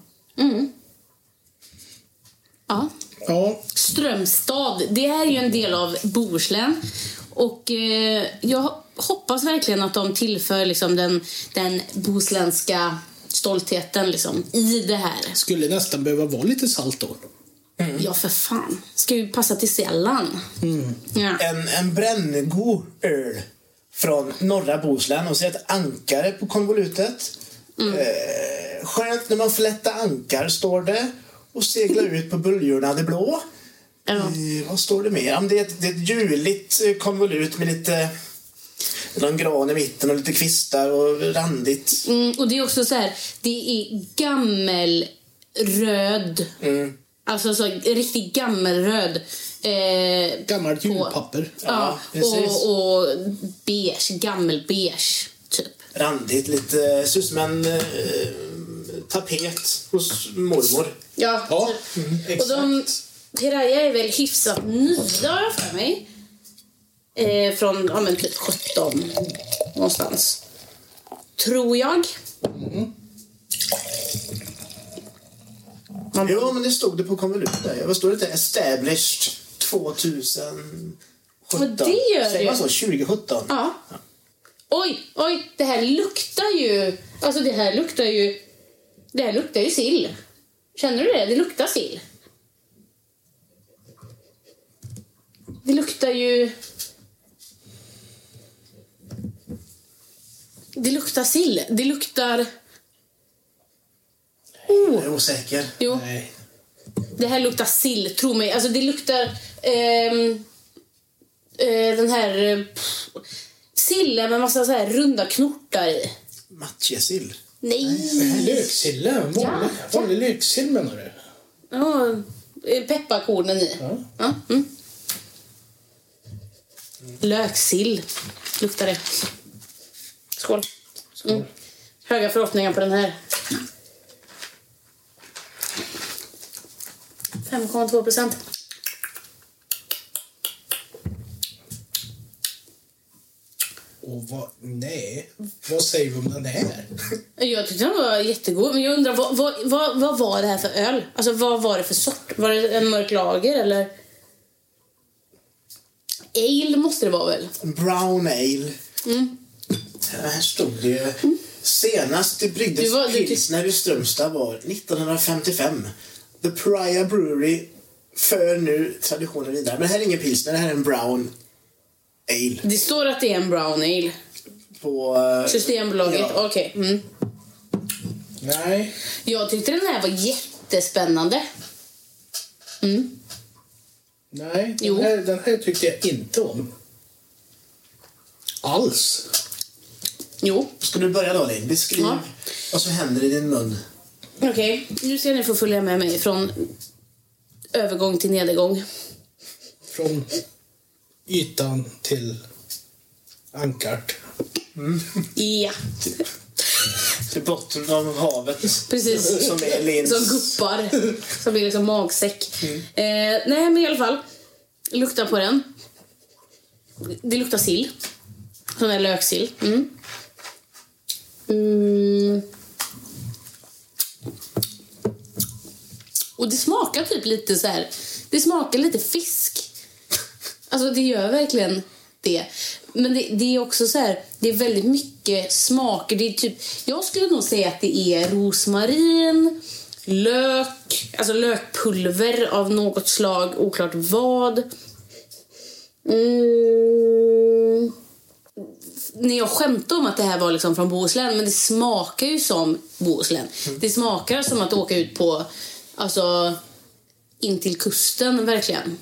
Speaker 4: Ja.
Speaker 3: Ja,
Speaker 4: Strömstad, det här är ju en del av Bohuslän. Och eh, jag hoppas verkligen att de tillför liksom, den, den bohuslänska stoltheten liksom, i det här.
Speaker 3: skulle nästan behöva vara lite salt då.
Speaker 4: Ja, för fan. Ska ju passa till sällan. Ja.
Speaker 2: en, en bränngod öl från norra Bohuslän. Och så är det ett ankare på konvolutet.
Speaker 4: Mm.
Speaker 2: Eh, skönt när man flättar ankar, står det. Och seglar ut på böljorna det blå.
Speaker 4: Ja.
Speaker 2: Eh, vad står det mer? Ja, men det, är ett, det är ett juligt eh, konvolut med lite... Någon gran i mitten och lite kvistar och randigt.
Speaker 4: Mm, och det är också så här, det är gammelröd. Alltså så, riktigt gammelröd. Eh,
Speaker 3: Gammalt julpapper.
Speaker 4: ja,
Speaker 2: precis.
Speaker 4: och, och beige, gammelbeige, typ.
Speaker 2: Randigt, lite... Ser ut som en eh, tapet hos mormor.
Speaker 4: Ja,
Speaker 3: Ja,
Speaker 4: typ. Och de, Piraya är väl hyfsat nya har jag för mig. Eh, från ja, men typ 17 någonstans. Tror jag.
Speaker 2: Ja, men det stod det på konvolut där. Vad står det där? Established 2017.
Speaker 4: Men det gör
Speaker 2: Säger man
Speaker 4: det
Speaker 2: så? 2017?
Speaker 4: Ja. Oj, oj, det här luktar ju... Alltså det här luktar ju... Det här luktar ju sill. Känner du det? Det luktar sill. Det luktar ju... Det luktar sill. Det luktar...
Speaker 2: Jag är osäker.
Speaker 4: Jo,
Speaker 3: Nej.
Speaker 4: det här luktar sill, tro mig. Alltså det luktar... ehm, eh, den här... eh, pff, sillen med massa så här runda knortar i.
Speaker 2: Matjessill.
Speaker 4: Nej!
Speaker 3: Löksillen? Vanlig, vanlig löksill menar du?
Speaker 4: Ja, eh, pepparkornen i. Ja. mm. Löksill luktar det. Skål. Mm. Höga förhoppningar på den här. 5,2 procent.
Speaker 3: Och vad, nej, vad säger vi om den här?
Speaker 4: Jag tyckte den var jättegod, men jag undrar vad, vad, vad, vad var det här för öl? Alltså vad var det för sort? Var det en mörk lager eller? Ale måste det vara väl?
Speaker 2: Brown ale.
Speaker 4: Mm.
Speaker 2: Det Här stod det ju. Senast det
Speaker 4: Du
Speaker 2: bryggdes
Speaker 4: var- du-
Speaker 2: pilsner i Strömstad var 1955. The Pariah Brewery för nu traditionen vidare. Men det här är ingen pilsner, det här är en brown ale.
Speaker 4: Det står att det är en brown ale.
Speaker 2: På, eh,
Speaker 4: Systembolaget,
Speaker 2: Ja.
Speaker 4: okej. Mm.
Speaker 3: Nej.
Speaker 4: Jag tyckte den här var jättespännande.
Speaker 3: Nej,
Speaker 4: Jo.
Speaker 3: den här, den här tyckte jag inte om. Alls.
Speaker 4: Jo,
Speaker 2: Ska du börja då Linn? Beskriv
Speaker 4: Ja.
Speaker 2: vad som händer i din mun.
Speaker 4: okej. Nu ska ni få följa med mig från övergång till nedgång.
Speaker 3: Från ytan till ankart.
Speaker 4: Ja,
Speaker 2: till botten av havet.
Speaker 4: precis.
Speaker 2: Som är Lins.
Speaker 4: Som guppar. Som blir liksom magsäck. Eh, nej, men i alla fall. Lukta på den. Det luktar sill. Sån där löksill. Mm. Mm. Och det smakar typ lite så här
Speaker 1: Det smakar lite fisk. Alltså det gör verkligen det. Men det, det är också så här, det är väldigt mycket smaker. Det är typ, jag skulle nog säga att det är rosmarin, lök, alltså lökpulver av något slag, oklart vad. Mm. När jag skämtade om att det här var liksom från Bohuslän, men det smakar ju som Bohuslän. Det smakar som att åka ut på, alltså, in till kusten verkligen.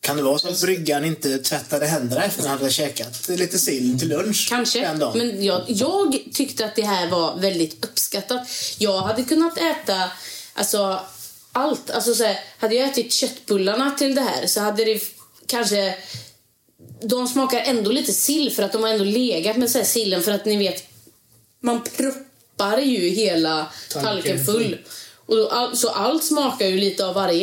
Speaker 2: Kan det vara så att bryggan inte tvättade händerna efter att han hade käkat lite sill till lunch?
Speaker 1: Kanske.
Speaker 2: Den dagen?
Speaker 1: Men jag, jag tyckte att det här var väldigt uppskattat. Jag hade kunnat äta alltså, allt. Alltså, så här, hade jag ätit köttbullarna till det här så hade det f- kanske... De smakar ändå lite sill för att de har ändå legat med så här sillen för att ni vet, man proppar ju hela
Speaker 3: Tanken
Speaker 1: tallriken
Speaker 3: full.
Speaker 1: full. Och då, all, så allt smakar ju lite av varje.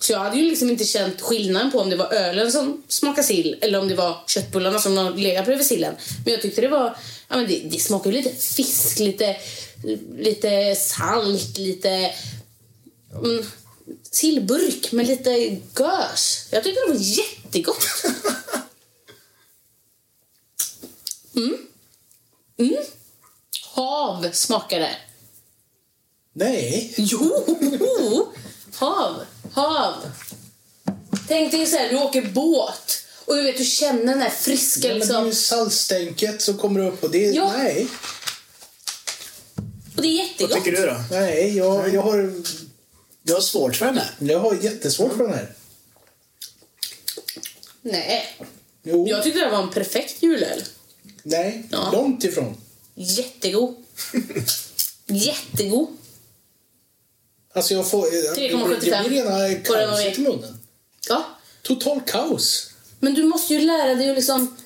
Speaker 1: Så jag hade ju liksom inte känt skillnad på om det var ölen som smakade sill eller om det var köttbullarna som har legat bredvid sillen. Men jag tyckte det var, ja men det, det smakade ju lite fisk, lite, lite salt, lite mm, sillburk med lite gös. Jag tyckte det var jättegott. Mm. Mm. Hav smakade det.
Speaker 3: Nej.
Speaker 1: Jo! Hav, hav. Tänk dig så här, du åker båt och du vet, du känner den här friska
Speaker 3: Ja, men det är
Speaker 1: liksom.
Speaker 3: ju saltstänket som kommer upp och det är...
Speaker 1: Ja.
Speaker 3: Nej.
Speaker 1: Och det är
Speaker 2: Vad
Speaker 1: jättegott.
Speaker 2: tycker du då?
Speaker 3: Nej, jag, jag, har,
Speaker 2: Jag har svårt för den här.
Speaker 3: jag har jättesvårt för den här.
Speaker 1: Nej,
Speaker 3: Jo.
Speaker 1: jag tyckte det var en perfekt julöl.
Speaker 3: Nej,
Speaker 1: Ja.
Speaker 3: långt ifrån.
Speaker 1: Jättegod. Jättegod.
Speaker 3: Alltså jag får... Det
Speaker 1: 3,75.
Speaker 3: blir rena
Speaker 1: På den
Speaker 3: kaoset i munnen.
Speaker 1: Ja,
Speaker 3: Total kaos.
Speaker 1: men du måste ju lära dig att liksom...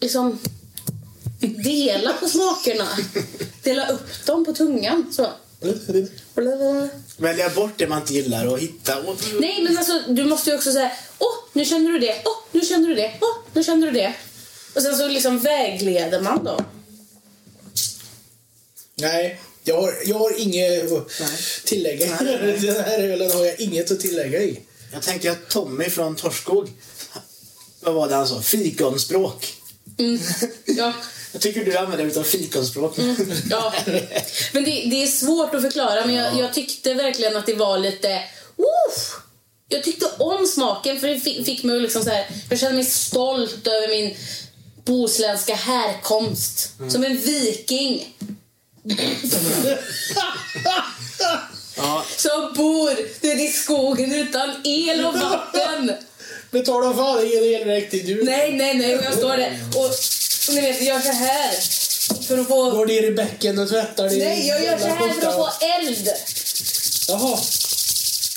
Speaker 1: Liksom... Dela på smakerna. Dela upp dem på tungan. Så.
Speaker 2: Välja bort det man inte gillar och hitta... Och...
Speaker 1: Nej, men alltså du måste ju också säga Åh, nu känner du det. Åh, nu känner du det. Åh, nu känner du det. Och sen så liksom vägleder man då.
Speaker 3: Nej, jag har, jag har inget att tillägga.
Speaker 2: Nej.
Speaker 3: Den här ölen har jag inget att tillägga i.
Speaker 2: Jag tänker att Tommy från Torskog, vad var det han sa? Fikonspråk.
Speaker 1: Ja.
Speaker 2: Jag tycker du använder dig av fikonspråk.
Speaker 1: Mm. ja. Men det, det är svårt att förklara, men jag, jag tyckte verkligen att det var lite... Oof! Jag tyckte om smaken, för det fick, fick mig att liksom så här... Jag kände mig stolt över min bohuslänska härkomst. Som en viking. Som bor nere i skogen utan el och vatten.
Speaker 3: Betala fan ingen elräkning du.
Speaker 1: Nej, nej, nej. Och jag står där och, och ni vet, jag gör så här för att
Speaker 3: Går
Speaker 1: få...
Speaker 3: ner i bäcken och tvättar din
Speaker 1: Nej, jag gör så
Speaker 3: jävla
Speaker 1: här för att
Speaker 3: skjorta.
Speaker 1: få eld.
Speaker 3: Jaha.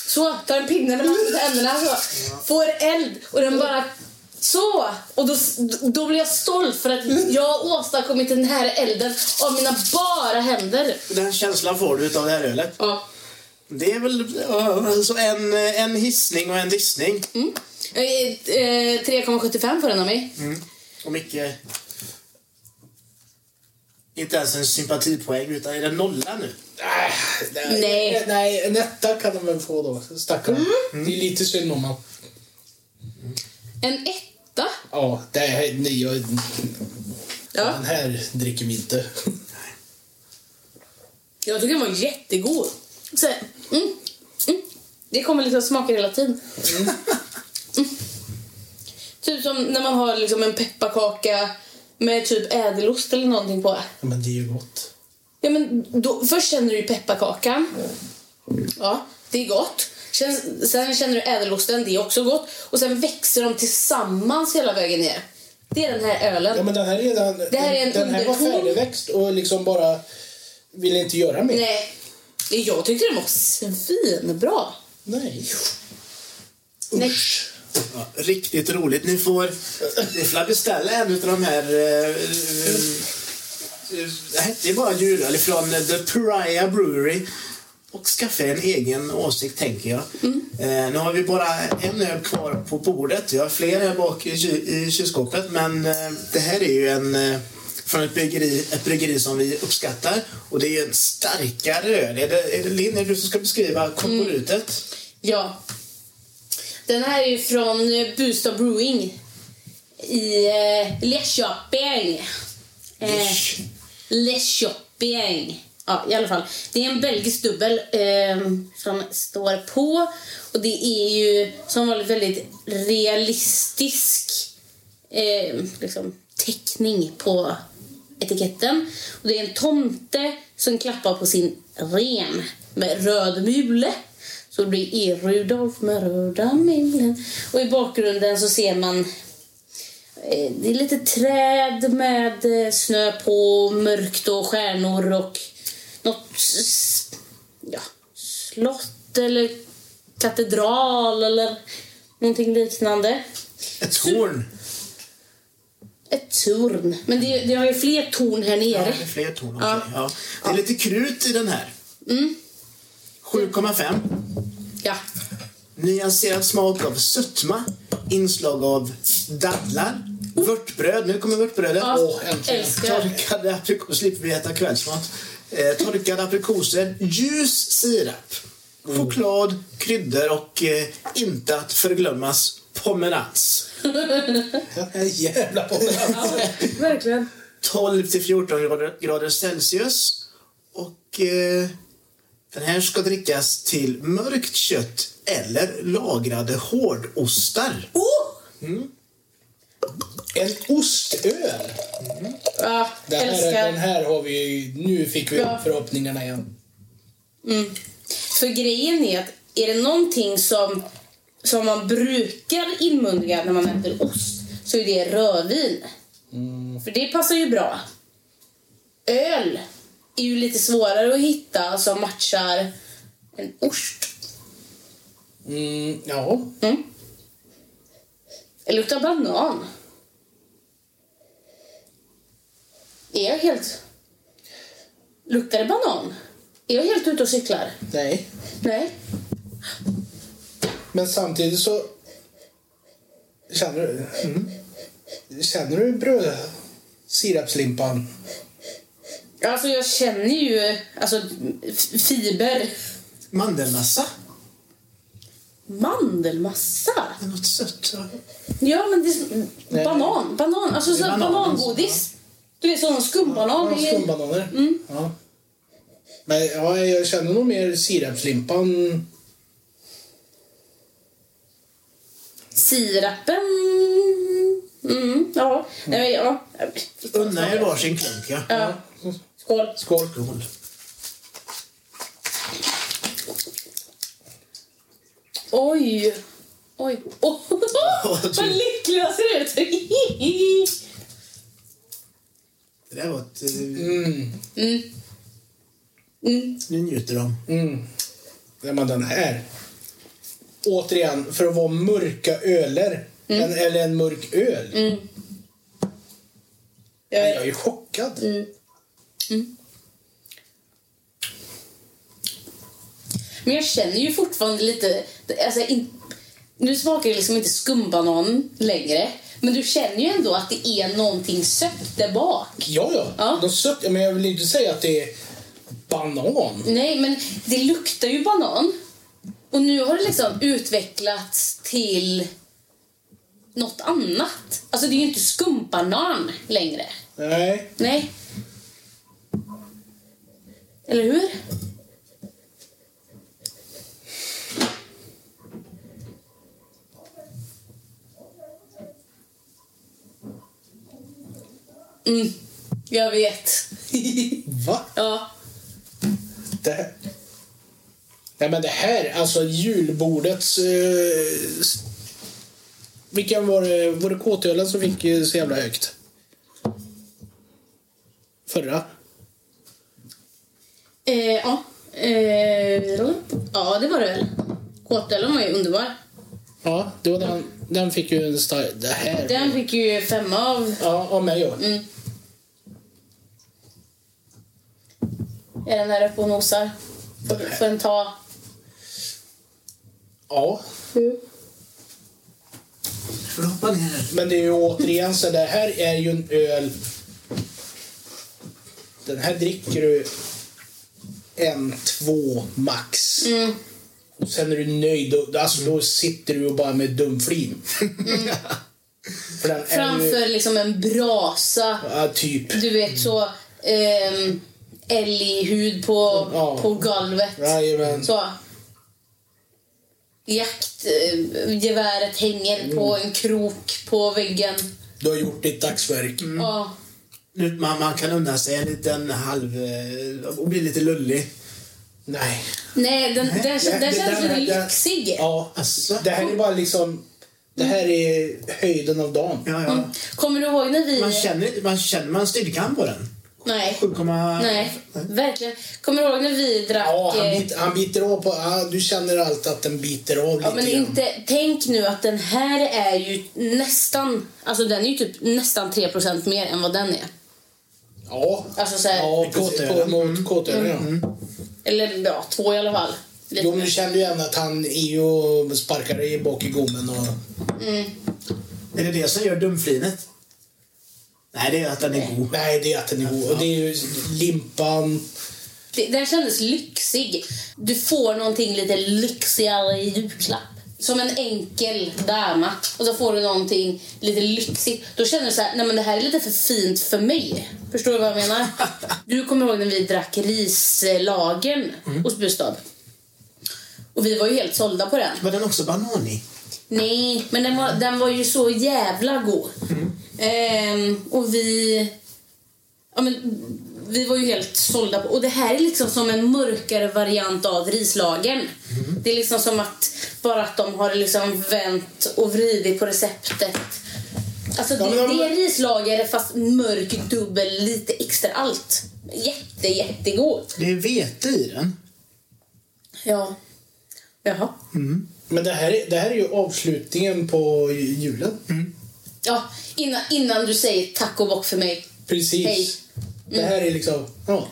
Speaker 1: Så, tar en pinne mellan tänderna så. Får eld och den bara... Så! Och då, då blir jag stolt för att jag har åstadkommit den här elden av mina bara händer.
Speaker 2: Den känslan får du av det här ölet.
Speaker 1: Ja.
Speaker 2: Det är väl ja, så en, en hissning och en dissning.
Speaker 1: Eh, eh, 3,75 får den av mig.
Speaker 2: Och mycket... Inte ens en sympatipoäng, utan är det nolla nu?
Speaker 3: Nej,
Speaker 1: Nej. Mm.
Speaker 3: nej, en etta kan de väl få då, stackarn.
Speaker 2: Mm.
Speaker 3: Det är lite synd om honom.
Speaker 1: En etta?
Speaker 3: Ja, det här, nej, jag,
Speaker 1: Ja.
Speaker 3: den här dricker vi inte.
Speaker 1: Jag tycker den var jättegod. Så, här, mm, mm. Det kommer liksom smaka hela tiden. Mm. Typ som när man har liksom en pepparkaka med typ ädelost eller någonting på.
Speaker 3: Ja, Men det är ju gott.
Speaker 1: Ja, men då, först känner du ju pepparkakan. Ja, det är gott. Sen, sen känner du ädelosten, det är också gott. Och sen växer de tillsammans hela vägen ner. Det är den här ölen.
Speaker 3: Ja, men den här, redan,
Speaker 1: Det här är en
Speaker 3: den här var
Speaker 1: underton.
Speaker 3: färdigväxt och liksom bara ville inte göra mer.
Speaker 1: Nej, jag tyckte den var svinbra.
Speaker 3: Nej.
Speaker 1: Usch.
Speaker 2: Ja, riktigt roligt. Ni får, ni får beställa en av de här... Eh, eh, det hette ju bara julöl från The Pariah Brewery. Och skaffa en egen åsikt, tänker jag. Eh, nu har vi bara en öl kvar på bordet. Vi har fler här bak i, ky- i kylskåpet. Men eh, det här är ju en... Eh, från ett bryggeri, ett bryggeri som vi uppskattar. Och det är ju en starkare öl. Är det, är det Linn, är det du som ska beskriva komporutet?
Speaker 1: Ja. Den här är ju från eh, Bustad Brewing i eh, Lidköping. Eh, Lidköping. Ja, i alla fall. Det är en belgisk dubbel eh, som står på. Och det är ju som vanligt väldigt realistisk eh, liksom, teckning på etiketten. Och det är en tomte som klappar på sin ren med röd mule. Så det är Rudolf med röda mulen. Och i bakgrunden så ser man eh, det är lite träd med eh, snö på, mörkt och stjärnor och något s- ja, slott eller katedral eller någonting liknande
Speaker 2: Ett torn.
Speaker 1: ett torn. Men det, det har ju fler torn här
Speaker 2: Ja,
Speaker 1: nere.
Speaker 2: det är fler ton.
Speaker 1: Ja.
Speaker 2: Ja. Ja. Det är lite krut i den här. 7,5.
Speaker 1: Ja.
Speaker 2: Nyanserad smak av sötma. Inslag av dadlar. Vörtbröd. Nu kommer vörtbrödet.
Speaker 1: Ja,
Speaker 2: Och
Speaker 3: äntligen.
Speaker 1: älskar.
Speaker 2: torkade aprikoser. slipper vi äta kvällsmat. Eh, torkade aprikoser. Ljus sirap.
Speaker 3: Mm.
Speaker 2: Choklad, kryddor och eh, inte att förglömmas pomerans.
Speaker 3: Den jävla pomerans.
Speaker 1: Verkligen.
Speaker 2: 12 till 14 grader, grader Celsius. Och eh, den här ska drickas till mörkt kött eller lagrade hårdostar.
Speaker 1: Oh!
Speaker 3: En ostöl.
Speaker 1: Ja,
Speaker 3: Den här,
Speaker 1: älskar.
Speaker 3: den här har vi ju- Nu fick vi
Speaker 1: Ja.
Speaker 3: upp förhoppningarna igen.
Speaker 1: För grejen är att är det någonting som, som man brukar inmundiga när man äter ost så är det rödvin. För det passar ju bra. Öl är ju lite svårare att hitta som matchar en ost.
Speaker 3: Mm, ja.
Speaker 1: Det luktar banan. Är jag helt... Luktar det banan? Är jag helt ute och cyklar?
Speaker 3: Nej.
Speaker 1: Nej.
Speaker 3: Men samtidigt så... Känner du... mm. Känner du bröd... Sirapslimpan?
Speaker 1: Alltså jag känner ju alltså, f- fiber.
Speaker 2: Mandelmassa.
Speaker 1: Mandelmassa?
Speaker 2: Det är Något sött. va?
Speaker 1: Ja men det är
Speaker 3: Nej.
Speaker 1: banan. Banan. Alltså så
Speaker 2: banan,
Speaker 1: banangodis. Du vet sån skumbanan.
Speaker 3: Ja,
Speaker 1: Det är- Mm.
Speaker 3: skumbananer. Ja. Men ja, jag känner nog mer sirapslimpan.
Speaker 1: Sirapen. Mm, ja. Nej, men, ja.
Speaker 2: Unna er varsin klunk. Ja.
Speaker 1: ja. Skål.
Speaker 3: Skål.
Speaker 2: Skål.
Speaker 1: Oj! Oj. Oh,
Speaker 2: typ.
Speaker 1: vad lycklig jag ser ut!
Speaker 2: Det där var ett... eh,
Speaker 1: Mm.
Speaker 2: Nu njuter de.
Speaker 3: Ja, men den här. Återigen, för att vara mörka öler. En, eller en mörk öl. Men Mm. Jag är Mm. ju chockad.
Speaker 1: Men jag känner ju fortfarande lite... Alltså, in, nu smakar det liksom inte skumbanan längre. Men du känner ju ändå att det är någonting sött där bak.
Speaker 3: Ja, ja.
Speaker 1: Ja.
Speaker 3: Då sök, men jag vill inte säga att det är banan.
Speaker 1: Nej, men det luktar ju banan. Och nu har det liksom utvecklats till något annat. Alltså det är ju inte skumbanan längre.
Speaker 3: Nej.
Speaker 1: Nej. Eller hur? Mm, jag vet.
Speaker 3: Va?
Speaker 1: ja.
Speaker 3: Det här. Nej, men det här, alltså julbordets... Eh, s- vilken var det? Var det kåtölen som fick eh, så jävla högt? Förra?
Speaker 1: Eh, ja. Eh, ja, det var det väl. Kåtölen var ju underbar.
Speaker 3: Ja, det var den, den fick ju en stark... Det här...
Speaker 1: Den fick ju femma av...
Speaker 3: Ja, av mig ja.
Speaker 1: Mm. Är den här uppe och nosar? Får, får den ta...
Speaker 3: Ja.
Speaker 2: Får du hoppa ner här?
Speaker 3: Men det är ju återigen så det här är ju en öl... Den här dricker du en, två max.
Speaker 1: Mm.
Speaker 3: Och sen är du nöjd. Och, alltså, Då sitter du och bara med dumflin. För den är ju...
Speaker 1: Mm. Framför liksom en brasa.
Speaker 3: Ja, typ.
Speaker 1: Du vet så... ehm, Älghud på,
Speaker 3: Ja.
Speaker 1: på golvet.
Speaker 3: Jajamän.
Speaker 1: Så. Jaktgeväret eh, hänger
Speaker 3: Mm.
Speaker 1: på en krok på väggen.
Speaker 3: Du har gjort ditt dagsverk.
Speaker 1: Ja.
Speaker 2: Nu, man, man kan unna sig en liten halv... eh, Och bli lite lullig.
Speaker 3: Nej.
Speaker 1: Nej, den, den, den,
Speaker 3: det-
Speaker 1: känns
Speaker 3: det-
Speaker 1: lite
Speaker 3: det-
Speaker 1: lyxig.
Speaker 3: Ja.
Speaker 2: Asså?
Speaker 3: Det här är bara liksom... Det här är höjden av dagen.
Speaker 2: Ja, ja.
Speaker 1: Mm. Kommer du ihåg när vi...
Speaker 2: Man känner, man känner man styrkan på den.
Speaker 1: Nej.
Speaker 2: 7,
Speaker 1: Nej, verkligen. Kommer du ihåg när vi drack...
Speaker 3: Ja, han,
Speaker 1: eh,
Speaker 3: bit, han biter av på... Ja, du känner allt att den biter av lite
Speaker 1: ja, men
Speaker 3: grann.
Speaker 1: inte, tänk nu att den här är ju nästan... Alltså den är ju typ nästan 3 mer än vad den är.
Speaker 3: Ja.
Speaker 1: Alltså så här-
Speaker 3: ja, precis.
Speaker 2: Kåtölen.
Speaker 3: På- mot Kåtölen,
Speaker 2: Mm.
Speaker 3: ja.
Speaker 1: Eller ja, två i alla fall. Lite
Speaker 3: Jo, men
Speaker 1: mer.
Speaker 3: du kände ju ändå att han är ju och sparkar i bak i gommen och...
Speaker 1: Mm.
Speaker 2: Är det det som gör dumflinet? Nej, det är att den är god.
Speaker 3: Nej, det är att den är god. Och det är ju limpan.
Speaker 1: Det- Den kändes lyxig. Du får någonting lite lyxigare i julklapp. Som en enkel dama. Och så får du någonting lite lyxigt. Då känner du så här, nej men det här är lite för fint för mig. Förstår du vad jag menar? Du kommer ihåg när vi drack rislagen
Speaker 3: Mm.
Speaker 1: hos Bustad. Och vi var ju helt sålda på den.
Speaker 2: Var den också banan i?
Speaker 1: Nej, men den var, den var ju så jävla god. Ehm, och vi... Ja, men, vi var ju helt sålda på... Och det här är liksom som en mörkare variant av rislagen. Det är liksom som att bara att de har liksom vänt och vridit på receptet. Alltså det,
Speaker 3: Ja, men de-
Speaker 1: det är rislager fast mörk, dubbel, lite extra allt. Jätte, jättegod.
Speaker 2: Det är vete i den.
Speaker 1: Ja. Jaha.
Speaker 3: Men det här, är, det här är ju avslutningen på julen.
Speaker 1: Ja, innan, innan du säger tack och bock för mig.
Speaker 3: Precis.
Speaker 1: Hej.
Speaker 3: Det här är liksom... Ja.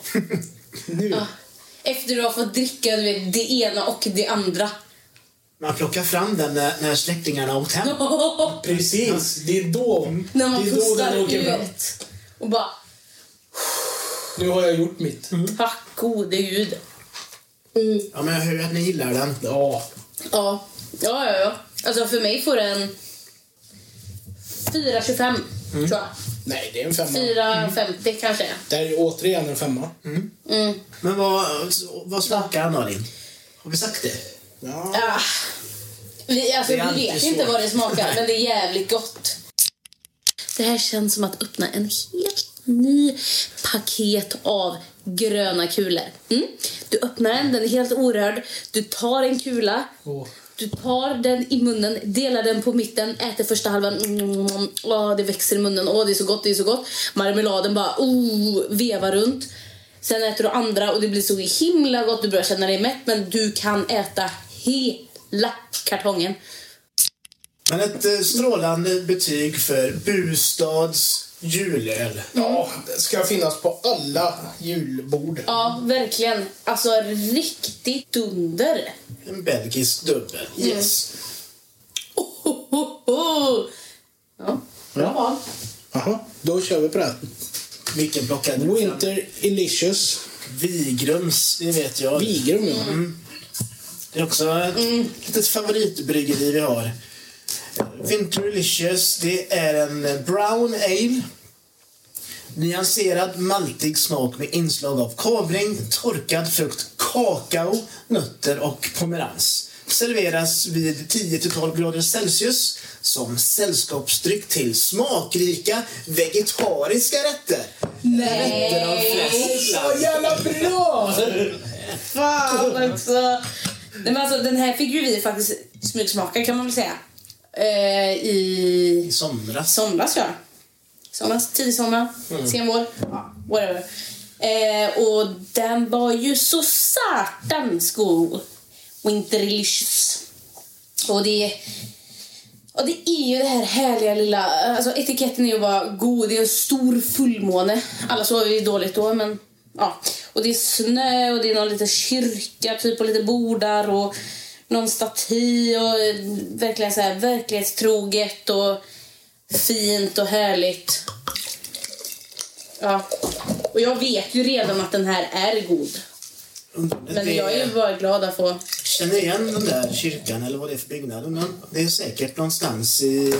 Speaker 3: nu.
Speaker 1: Ja. Efter du har fått dricka du vet, det ena och det andra.
Speaker 2: Man plockar fram den när, när släktingarna har åkt hem.
Speaker 3: Precis. Det är då...
Speaker 1: När man
Speaker 3: det är då
Speaker 1: pustar
Speaker 3: den åker fram.
Speaker 1: ut och bara
Speaker 3: Nu har jag gjort mitt.
Speaker 1: tack gode gud.
Speaker 2: Ja, men jag hör ju att ni gillar den.
Speaker 3: Ja.
Speaker 1: Ja. ja, ja, ja. Alltså för mig får den 4,25
Speaker 3: Mm.
Speaker 1: tror jag.
Speaker 3: Nej, det är en femma.
Speaker 1: 4,50 kanske.
Speaker 3: Det här är återigen en femma.
Speaker 1: Mm.
Speaker 2: Men vad, vad smakar den Malin? Har vi sagt det?
Speaker 3: Ja.
Speaker 1: Ah. Vi, alltså,
Speaker 2: Det är
Speaker 1: vi vet
Speaker 2: alltid
Speaker 1: inte
Speaker 2: så.
Speaker 1: vad det smakar, men det är jävligt gott. Det här känns som att öppna en helt ny paket av gröna kulor. Mm. Du öppnar den, den är helt orörd. Du tar en kula,
Speaker 3: Åh.
Speaker 1: du tar den i munnen, delar den på mitten, äter första halvan. Mm, åh, det växer i munnen. Åh, det är så gott, det är så gott. Marmeladen bara oh, vevar runt. Sen äter du andra och det blir så himla gott. Du börjar känna dig mätt, men du kan äta hela kartongen.
Speaker 2: Men ett eh, strålande betyg för Bustads julöl.
Speaker 3: Ja, det ska finnas på alla julbord.
Speaker 1: Ja, verkligen. Alltså, riktigt dunder.
Speaker 2: En belgisk dubbel. Yes.
Speaker 1: Ho, ho, ho. Ja. Bra.
Speaker 3: Jaha, då kör vi på det.
Speaker 2: Vilken blockad.
Speaker 3: Winter Elicious.
Speaker 2: Vigrums, det vet jag.
Speaker 3: Vigrum, ja.
Speaker 1: Mm.
Speaker 2: Det är också ett litet favoritbryggeri vi har. Winterlicious, det är en brown ale. Nyanserad maltig smak med inslag av kavling, torkad frukt, kakao, nötter och pomerans. Serveras vid 10-12 grader Celsius som sällskapsdryck till smakrika vegetariska rätter. Rätter av fläsk.
Speaker 1: Så jävla bra! Fan också. Nej, men alltså, den här fick ju vi faktiskt smygsmaka kan man väl säga. Eh, I
Speaker 2: I somras.
Speaker 1: somras ja. Somras, tidig sommar, sen vår. Ja, whatever. Eh, och den var ju så satans god. Winterlicious. Och det, och det är ju det här härliga lilla... Alltså etiketten är ju bara god. Det är en stor fullmåne. Alla sover ju dåligt då, men... Ja. Och det är snö och det är någon liten kyrka typ och lite bordar och någon staty och eh, verkligen så här verklighetstroget och fint och härligt. Ja. Och jag vet ju redan att den här är god. Men jag är ju bara glad att få...
Speaker 2: Känner igen den där kyrkan eller vad det är för byggnad. Men det är säkert någonstans i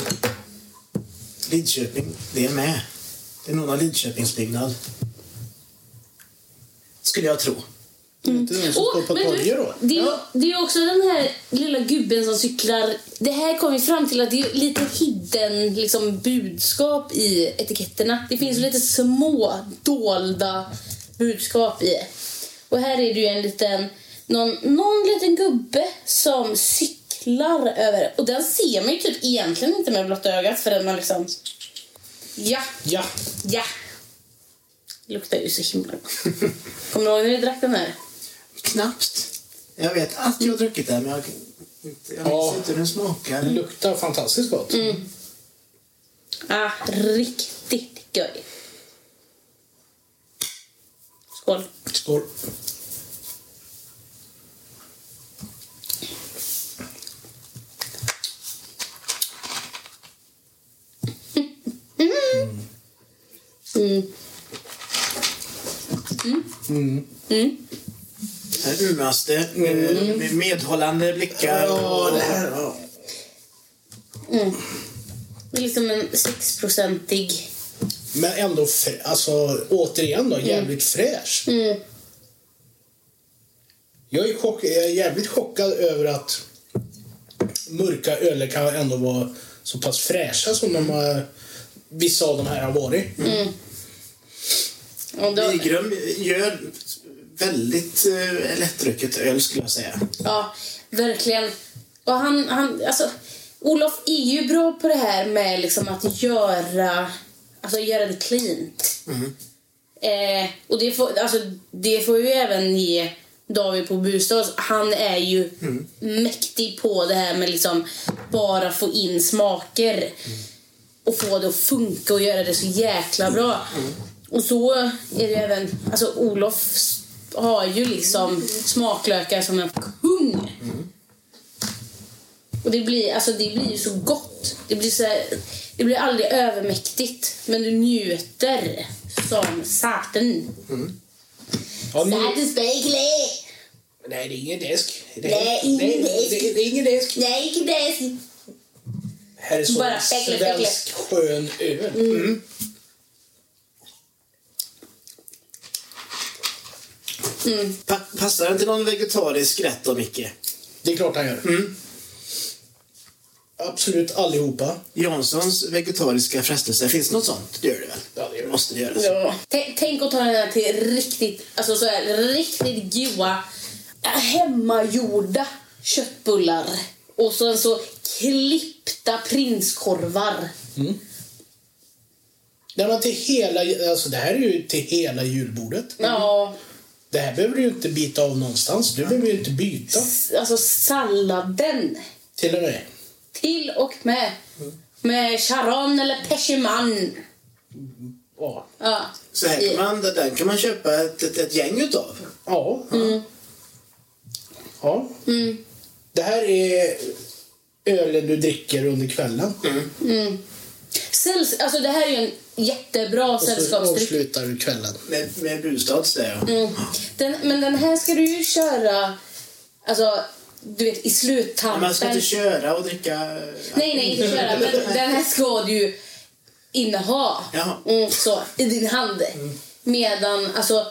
Speaker 2: Lidköping. Det är med. Det är någon av Lidköpingsbyggnad. Skulle jag tro.
Speaker 3: Inte den som står på
Speaker 1: men du,
Speaker 3: torget då.
Speaker 1: Det är, ju- det är ju också den här lilla gubben som cyklar. Det här kom vi fram till att det är ju lite hidden liksom, budskap i etiketterna. Det
Speaker 3: Mm.
Speaker 1: finns ju lite små dolda budskap i. Och här är det ju en liten, någon, någon liten gubbe som cyklar över. Och den ser man ju typ egentligen inte med blotta ögat förrän man liksom... Ja,
Speaker 3: Ja.
Speaker 1: ja. Det luktar ju så himla gott. Kommer du ihåg när vi drack den här?
Speaker 2: Knappt. Jag vet att jag har druckit den men jag, inte- jag minns
Speaker 3: Ja.
Speaker 2: inte hur den
Speaker 3: Det
Speaker 2: smakar.
Speaker 3: luktar fantastiskt gott.
Speaker 1: Mm. Ah, riktigt göj. Skål.
Speaker 3: Skål.
Speaker 2: Den umaste, med- med medhållande blickar. Och,
Speaker 1: Det är liksom en 6-procentig...
Speaker 3: Men ändå, frä- alltså, återigen då, jävligt
Speaker 1: Mm.
Speaker 3: fräsch. Jag, är chock, jag är jävligt chockad över att mörka öler kan ändå vara så pass fräscha som de har, vissa av de här har varit.
Speaker 1: Mm. Och då,
Speaker 2: Vigrum gör väldigt eh, lättdrucket öl skulle jag säga.
Speaker 1: ja, verkligen. Och han, han, alltså, Olof är ju bra på det här med liksom att göra, alltså, göra det cleant.
Speaker 3: Mm-hmm.
Speaker 1: Eh, och det får, alltså, det får ju även ge David på Bustad. Han är ju mäktig på det här med liksom bara få in smaker. och få det att funka och göra det så jäkla bra. Och så är det ju även, alltså Olof s- har ju liksom smaklökar som en kung. Och det blir, alltså det blir ju så gott. Det blir, så här, det blir aldrig övermäktigt, men du njuter som saten.
Speaker 3: Ja, nu,
Speaker 1: Satisfactory!
Speaker 3: nej, det är ingen desk. Det
Speaker 1: Nej,
Speaker 3: är,
Speaker 1: ingen
Speaker 3: nej,
Speaker 1: desk.
Speaker 3: det, det är ingen desk.
Speaker 1: Nej, inte det.
Speaker 3: Här är så
Speaker 1: Bara
Speaker 3: Bara
Speaker 1: fäckle, fäckle. Mm.
Speaker 3: svensk skön öl. Mm.
Speaker 2: Pa- passar den till någon vegetarisk rätt då, Micke?
Speaker 3: Det är klart han gör. Mm. Absolut allihopa.
Speaker 2: Janssons vegetariska frestelse. Finns det något sånt? Det gör det väl?
Speaker 3: Ja, det gör det.
Speaker 2: måste det
Speaker 3: Alltså.
Speaker 2: göra.
Speaker 1: T- Tänk att ta den här till riktigt, alltså så här, riktigt goa äh, hemmagjorda köttbullar. Och sen så klippta prinskorvar.
Speaker 3: Nej, men till hela, alltså det här är ju till hela julbordet.
Speaker 1: Ja,
Speaker 3: Det här behöver du ju inte bita av någonstans. Du behöver ju inte byta.
Speaker 1: s- alltså salladen.
Speaker 3: Till och med.
Speaker 1: Till och med. Med charan eller persiman.
Speaker 3: Ja.
Speaker 1: Ja.
Speaker 2: Så här kan man, den kan man köpa ett, ett, ett gäng utav.
Speaker 3: Ja. ja. Mm. Det här är ölen du dricker under kvällen.
Speaker 1: Sälls, alltså det här är ju en jättebra
Speaker 3: Och så
Speaker 1: sällskapsdryck.
Speaker 3: avslutar du kvällen.
Speaker 2: Med, med Busdags där ja.
Speaker 3: Mm.
Speaker 1: Den, men den här ska du ju köra alltså, du vet, i sluttampen.
Speaker 3: alltså,
Speaker 2: Man ska inte köra och dricka...
Speaker 1: Nej, nej, inte köra. Men den här ska du ju inneha.
Speaker 2: Jaha.
Speaker 1: Mm, så, I din hand. Medan, alltså,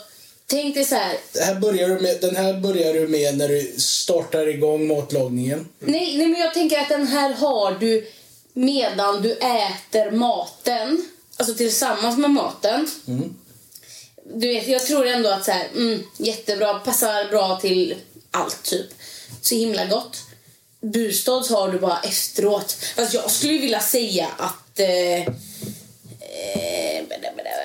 Speaker 1: tänk dig så här.
Speaker 3: Det här börjar du med, den här börjar du med när du startar igång matlagningen.
Speaker 1: Nej, nej, men jag tänker att den här har du medan du äter maten. Alltså tillsammans med maten. Du vet, jag tror ändå att så här, mm, jättebra, passar bra till allt typ. Så himla gott. Bustads har du bara efteråt. Fast jag skulle ju vilja säga att... Eh, eh,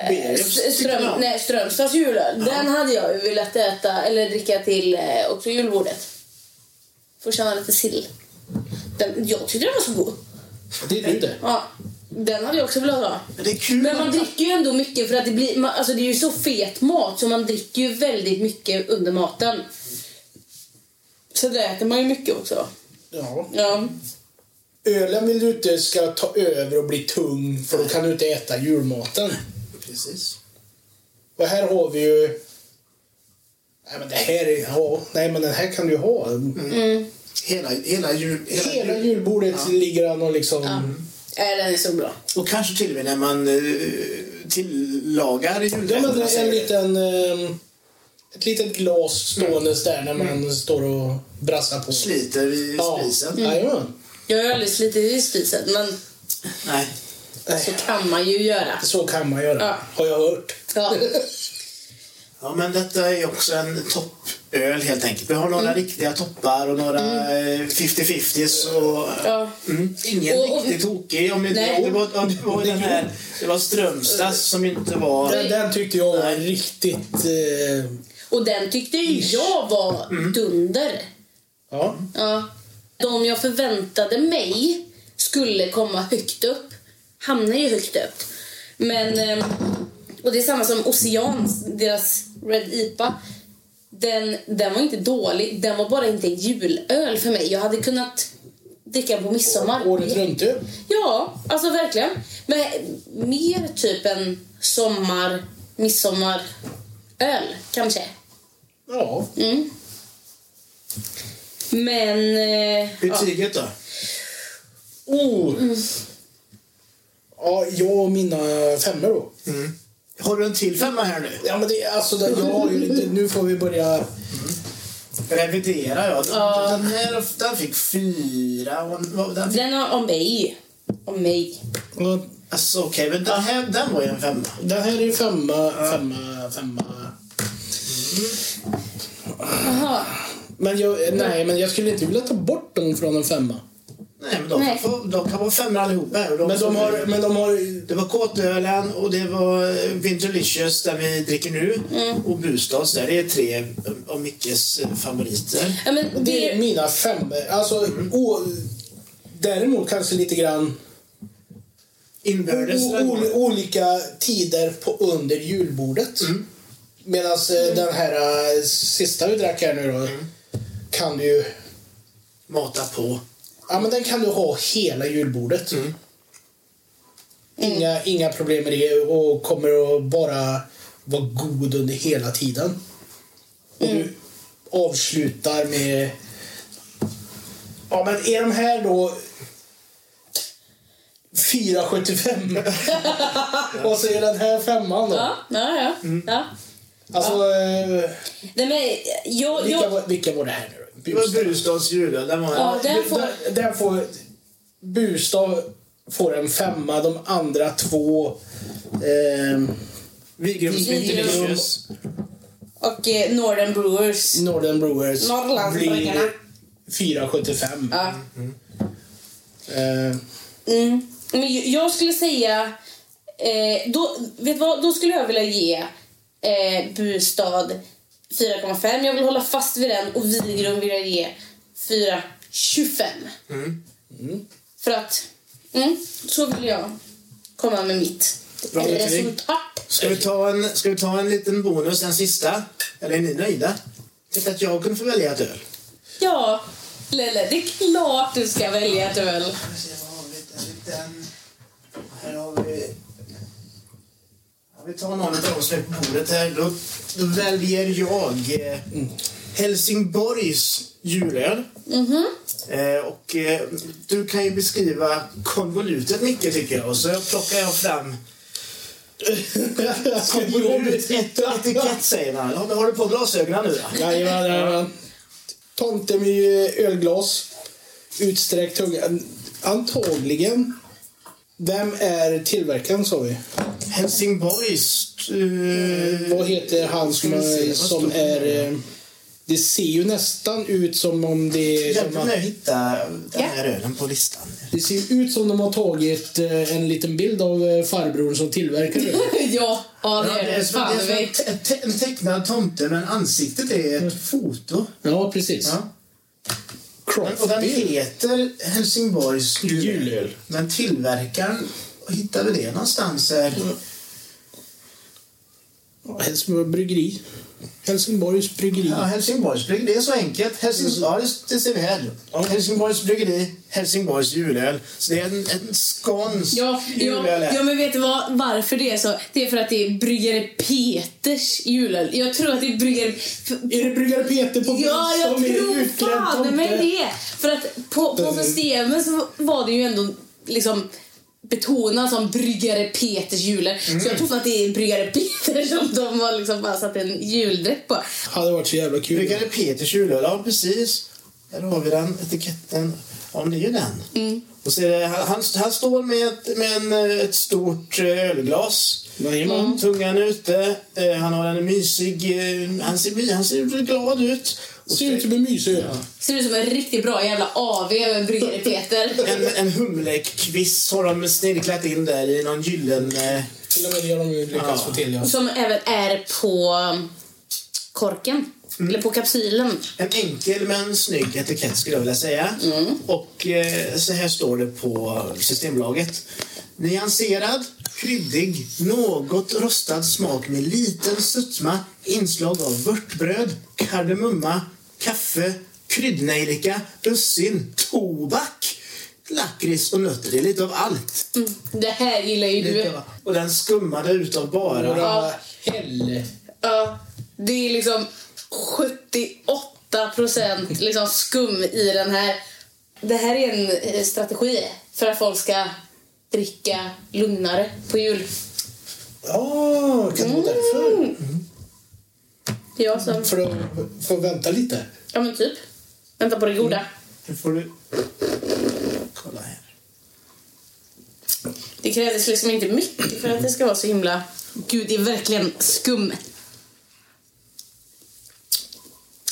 Speaker 2: Bergs tycker
Speaker 1: Ström,
Speaker 2: jag.
Speaker 1: nej, Strömstads julöl. Den hade jag ju velat äta eller dricka till eh, också julbordet. Får känna lite sill. Den, jag tyckte den var så god.
Speaker 3: Det är du det.
Speaker 1: Ja, den hade jag också velat ha.
Speaker 2: Men det är kul.
Speaker 1: Men man dricker ju ändå mycket för att det blir, man, alltså det är ju så fet mat så man dricker ju väldigt mycket under maten. Så då äter man ju mycket också.
Speaker 3: Ja.
Speaker 1: Ja.
Speaker 3: Ölen vill du inte ska ta över och bli tung för då kan du inte äta julmaten.
Speaker 2: Precis.
Speaker 3: Och här har vi ju... Nej men det här är... Ja, nej men den här kan du ha.
Speaker 2: Hela, hela jul... Hela
Speaker 3: Hela
Speaker 2: jul.
Speaker 3: julbordet ligger han och liksom...
Speaker 1: Äh, den är så bra.
Speaker 2: Och kanske till och med när man eh, tillagar
Speaker 3: Ja, men
Speaker 2: julrätterna.
Speaker 3: det är en
Speaker 2: säger det.
Speaker 3: liten... eh, Ett litet glas ståendes där när man står och brassar på.
Speaker 2: Sliter i
Speaker 3: Ja. Mm.
Speaker 2: spisen.
Speaker 3: Jajamän.
Speaker 1: Jag har ju aldrig slitit i spisen men
Speaker 2: Nej.
Speaker 1: så kan man ju göra.
Speaker 3: Så kan man göra.
Speaker 1: Ja.
Speaker 3: Har jag hört.
Speaker 1: Ja.
Speaker 2: Ja, men detta är också en toppöl helt enkelt. Vi har några riktiga toppar och några eh, 50-50s och...
Speaker 1: Ja.
Speaker 2: Mm. Ingen
Speaker 1: Och- och-
Speaker 2: riktigt tokig. Om inte,
Speaker 1: Nej.
Speaker 2: det, var, om det var den här... Det var Strömstads som inte var...
Speaker 3: Den, den tyckte jag var riktigt... Eh,
Speaker 1: Och den tyckte ju jag var dunder.
Speaker 3: ja.
Speaker 1: Ja. De jag förväntade mig skulle komma högt upp hamnar ju högt upp. Men, ehm, och det är samma som Ocean, deras Red IPA. Den, den var inte dålig, den var bara inte en julöl för mig. Jag hade kunnat dricka den på midsommar.
Speaker 3: Året runt ju.
Speaker 1: Ja, alltså verkligen. Men mer typ en sommar, midsommaröl kanske.
Speaker 3: Ja.
Speaker 1: Men... eh,
Speaker 2: Betyget då?
Speaker 3: Oh. Ja, jag och mina femmor då.
Speaker 2: Har du en till femma här nu?
Speaker 3: Ja, men det, alltså, det, jag har ju lite, nu får vi börja...
Speaker 2: Revidera ja. Den, den, här, den fick fyra. Och vad- den fick,
Speaker 1: Den har om mig. Om mig.
Speaker 3: Ja,
Speaker 2: alltså, okej, men den, här, den var ju en femma.
Speaker 3: Den här är ju femma, femma, femma. Men jag, nej, men jag skulle inte vilja ta bort dem från en femma.
Speaker 2: Nej, men de,
Speaker 1: Nej.
Speaker 2: Kan, få, de kan vara femmor allihopa. här, Och de
Speaker 3: Men de
Speaker 2: som-
Speaker 3: har... Men de har
Speaker 2: Det var Kåtölen och det var eh, Winterlicious där vi dricker nu.
Speaker 3: Mm.
Speaker 2: Och Busdags där. Det är tre av Mickes eh, favoriter.
Speaker 1: Ja, men
Speaker 3: det är
Speaker 1: det,
Speaker 3: mina fem. Alltså, o, däremot kanske lite grann
Speaker 2: Inbördes.
Speaker 3: o, o, olika tider på under julbordet. Medan den här eh, sista vi drack här nu då, kan du ju...
Speaker 2: Mata på.
Speaker 3: Ja, men den kan du ha hela julbordet.
Speaker 2: Mm.
Speaker 3: Inga, inga problem med det och kommer att bara vara god under hela tiden. Och
Speaker 2: Mm.
Speaker 3: du avslutar med... Ja, men är de här då 4,75? och så är den här femman då.
Speaker 1: ja, ja, ja. ja.
Speaker 3: Alltså, eh,
Speaker 1: Nej, men, jag,
Speaker 3: vilka,
Speaker 1: jag,
Speaker 3: var, vilka var det här nu då?
Speaker 2: Det var Busdags julöl. Den var
Speaker 1: ja, den får,
Speaker 3: Där, där får Bustad får en femma, de andra två... ehm,
Speaker 2: Vigrums Winterlicious.
Speaker 1: och eh, Northern Brewers.
Speaker 3: Northern Brewers
Speaker 1: Norrlandsbryggarna.
Speaker 3: blir 4,75.
Speaker 1: Ja.
Speaker 3: Eh,
Speaker 1: Mm. Men ju- jag skulle säga... Eh, då, vet du vad? då skulle jag vilja ge eh, Bustad 4,5. Jag vill hålla fast vid den och Vigrum vill jag ge 4,25. För att... Mm, så vill jag komma med mitt
Speaker 2: Bra betyg.
Speaker 1: resultat.
Speaker 2: Ska vi, ta en, ska vi ta en liten bonus, en sista? Eller är ni nöjda? Tyckte att jag kunde få välja ett öl.
Speaker 1: Ja, Lelle, det är klart du ska välja ett öl.
Speaker 2: Ska vi se, vad har vi? Där är den. Här Vi tar någon av dem som är på bordet här. Då, då väljer jag eh,
Speaker 3: Mm.
Speaker 2: Helsingborgs julöl. Eh, och eh, du kan ju beskriva konvolutet Nicke tycker jag. Och så plockar jag fram konvolut ett- etikett säger man. Har, har du på glasögonen nu då?
Speaker 3: Jajamän, jajamän. Tomtemyr ölglas. Utsträckt tunga. Antagligen. Vem är tillverkaren sa vi?
Speaker 2: Helsingborgs... eh,
Speaker 3: Vad heter han som,
Speaker 2: Ska vi se, vad
Speaker 3: som
Speaker 2: står det?
Speaker 3: är... eh, Det ser ju nästan ut som om det... Som
Speaker 2: Hjälp
Speaker 3: att,
Speaker 2: mig att hitta den här ölen på listan.
Speaker 3: det ser ju ut som de har tagit eh, en liten bild av eh, farbrorn som tillverkar det.
Speaker 1: ja, ja, det
Speaker 2: Ja,
Speaker 1: är
Speaker 2: det är
Speaker 1: det.
Speaker 2: som,
Speaker 1: Fan,
Speaker 2: det är som en,
Speaker 1: vet.
Speaker 2: te- te- en tecknad tomte, men ansiktet är ett foto.
Speaker 3: Ja, precis.
Speaker 2: Ja. Men- Och den
Speaker 3: Craftbeer.
Speaker 2: heter Helsingborgs julöl.
Speaker 3: Julöl.
Speaker 2: Men tillverkaren, hittar vi det någonstans? Här?
Speaker 3: Helsingborg bryggeri. Helsingborgs bryggeri.
Speaker 2: Ja, Helsingborgs bryggeri, det är så enkelt. Helsing... Ja, det- det ser vi här. Helsingborgs bryggeri, Helsingborgs julöl. Så det är en, en skånsk
Speaker 1: Ja, ja,
Speaker 2: julöl. här.
Speaker 1: ja, men vet du vad, varför det är så? Det är för att det är Bryggare Peters julöl. Jag tror att det är Bryggare...
Speaker 3: Är det Bryggare Peter på
Speaker 1: Ja, jag
Speaker 3: som är
Speaker 1: tror
Speaker 3: utklädd
Speaker 1: fan
Speaker 3: tomte?
Speaker 1: mig det! För att på, på systemen så var det ju ändå liksom betonat som Bryggare Peters julöl. Så jag tror att det är Bryggare Peter som de har liksom bara satt en juldräkt på.
Speaker 3: Hade varit så jävla kul.
Speaker 2: Bryggare Peters julöl, ja precis. Där har vi den, etiketten. Ja, men det är ju den. Och så är det, han, han- han står med, ett, med en, eh, ett stort eh, ölglas. Mm.
Speaker 3: Jajamän.
Speaker 2: Tungan ute. Eh, Han har en mysig... eh, Han ser, my- han ser glad ut. Och
Speaker 3: Ser ut som en mysig ö.
Speaker 1: Ser ut som en riktigt bra jävla AV med Bryggare Peter.
Speaker 2: en, en humlekvist har de snirklat in där i någon gyllene... Eh,
Speaker 3: Till och med det har de ju lyckats få till. Ja.
Speaker 1: Som även är på um, korken. Eller på kapsylen.
Speaker 2: En enkel men snygg etikett skulle jag vilja säga. Och eh, så här står det på Systembolaget. Nyanserad, kryddig, något rostad smak med liten sötma, inslag av vörtbröd, kardemumma, kaffe, kryddnejlika, russin, tobak, lakrits och nötter. Det är lite av allt.
Speaker 1: Mm. Det här gillar ju
Speaker 2: Lite
Speaker 1: du.
Speaker 2: av, och den skummade utav bara...
Speaker 1: Ja.
Speaker 3: Hell.
Speaker 1: Ja, det är liksom 78 procent liksom skum i den här. Det här är en eh, strategi för att folk ska dricka lugnare på jul.
Speaker 3: Ja, kan det vara därför?
Speaker 1: Ja, så.
Speaker 3: För att få vänta lite.
Speaker 1: ja men typ. Vänta på det goda.
Speaker 2: Nu får du... Kolla här.
Speaker 1: Det krävs liksom inte mycket för att det ska vara så himla... Gud, det är verkligen skum.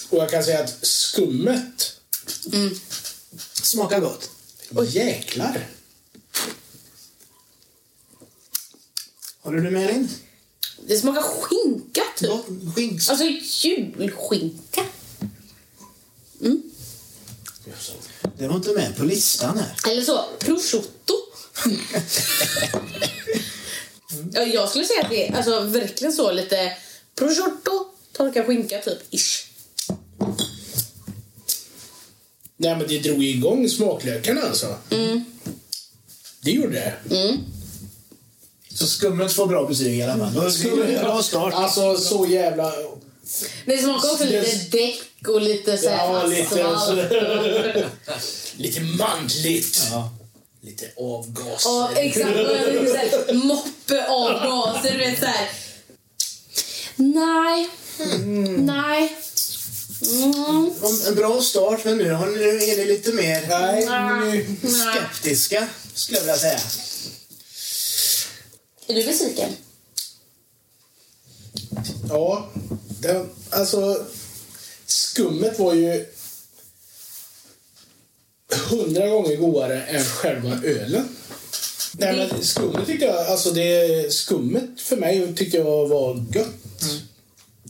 Speaker 3: Och jag kan säga att skummet...
Speaker 2: Smakar gott.
Speaker 3: Åh jäklar!
Speaker 2: Håller du med Elin?
Speaker 1: Det smakar skinka typ.
Speaker 2: Gott. Skink,
Speaker 1: Alltså julskinka.
Speaker 2: Det var inte med på listan här.
Speaker 1: Eller så, prosciutto. ja, jag skulle säga att det är alltså, verkligen så lite prosciutto, torkad skinka typ. Ish.
Speaker 3: Nej men det drog ju igång smaklökarna alltså.
Speaker 2: Mm.
Speaker 3: Det gjorde det.
Speaker 2: Så skummet får bra betyg i alla fall. Då skulle det bra start.
Speaker 3: Alltså så jävla...
Speaker 1: Det smakar också
Speaker 3: Yes.
Speaker 1: lite däck och lite så här
Speaker 3: Ja, lite
Speaker 1: asfalt.
Speaker 3: Lite manligt. Lite avgaser.
Speaker 1: Ja, exakt. Och jag tänkte så här, Moppeavgaser, du vet så här. Nej. Nej. Mm.
Speaker 2: Om- En bra start, men nu har ni- nu är ni lite mer
Speaker 3: Nej, nu...
Speaker 1: Nej.
Speaker 2: skeptiska, skulle jag vilja säga.
Speaker 1: Är du besviken?
Speaker 3: Ja, det, alltså skummet var ju hundra gånger godare än själva ölen. Nej, men skummet tyckte jag, alltså det skummet för mig tyckte jag var gött.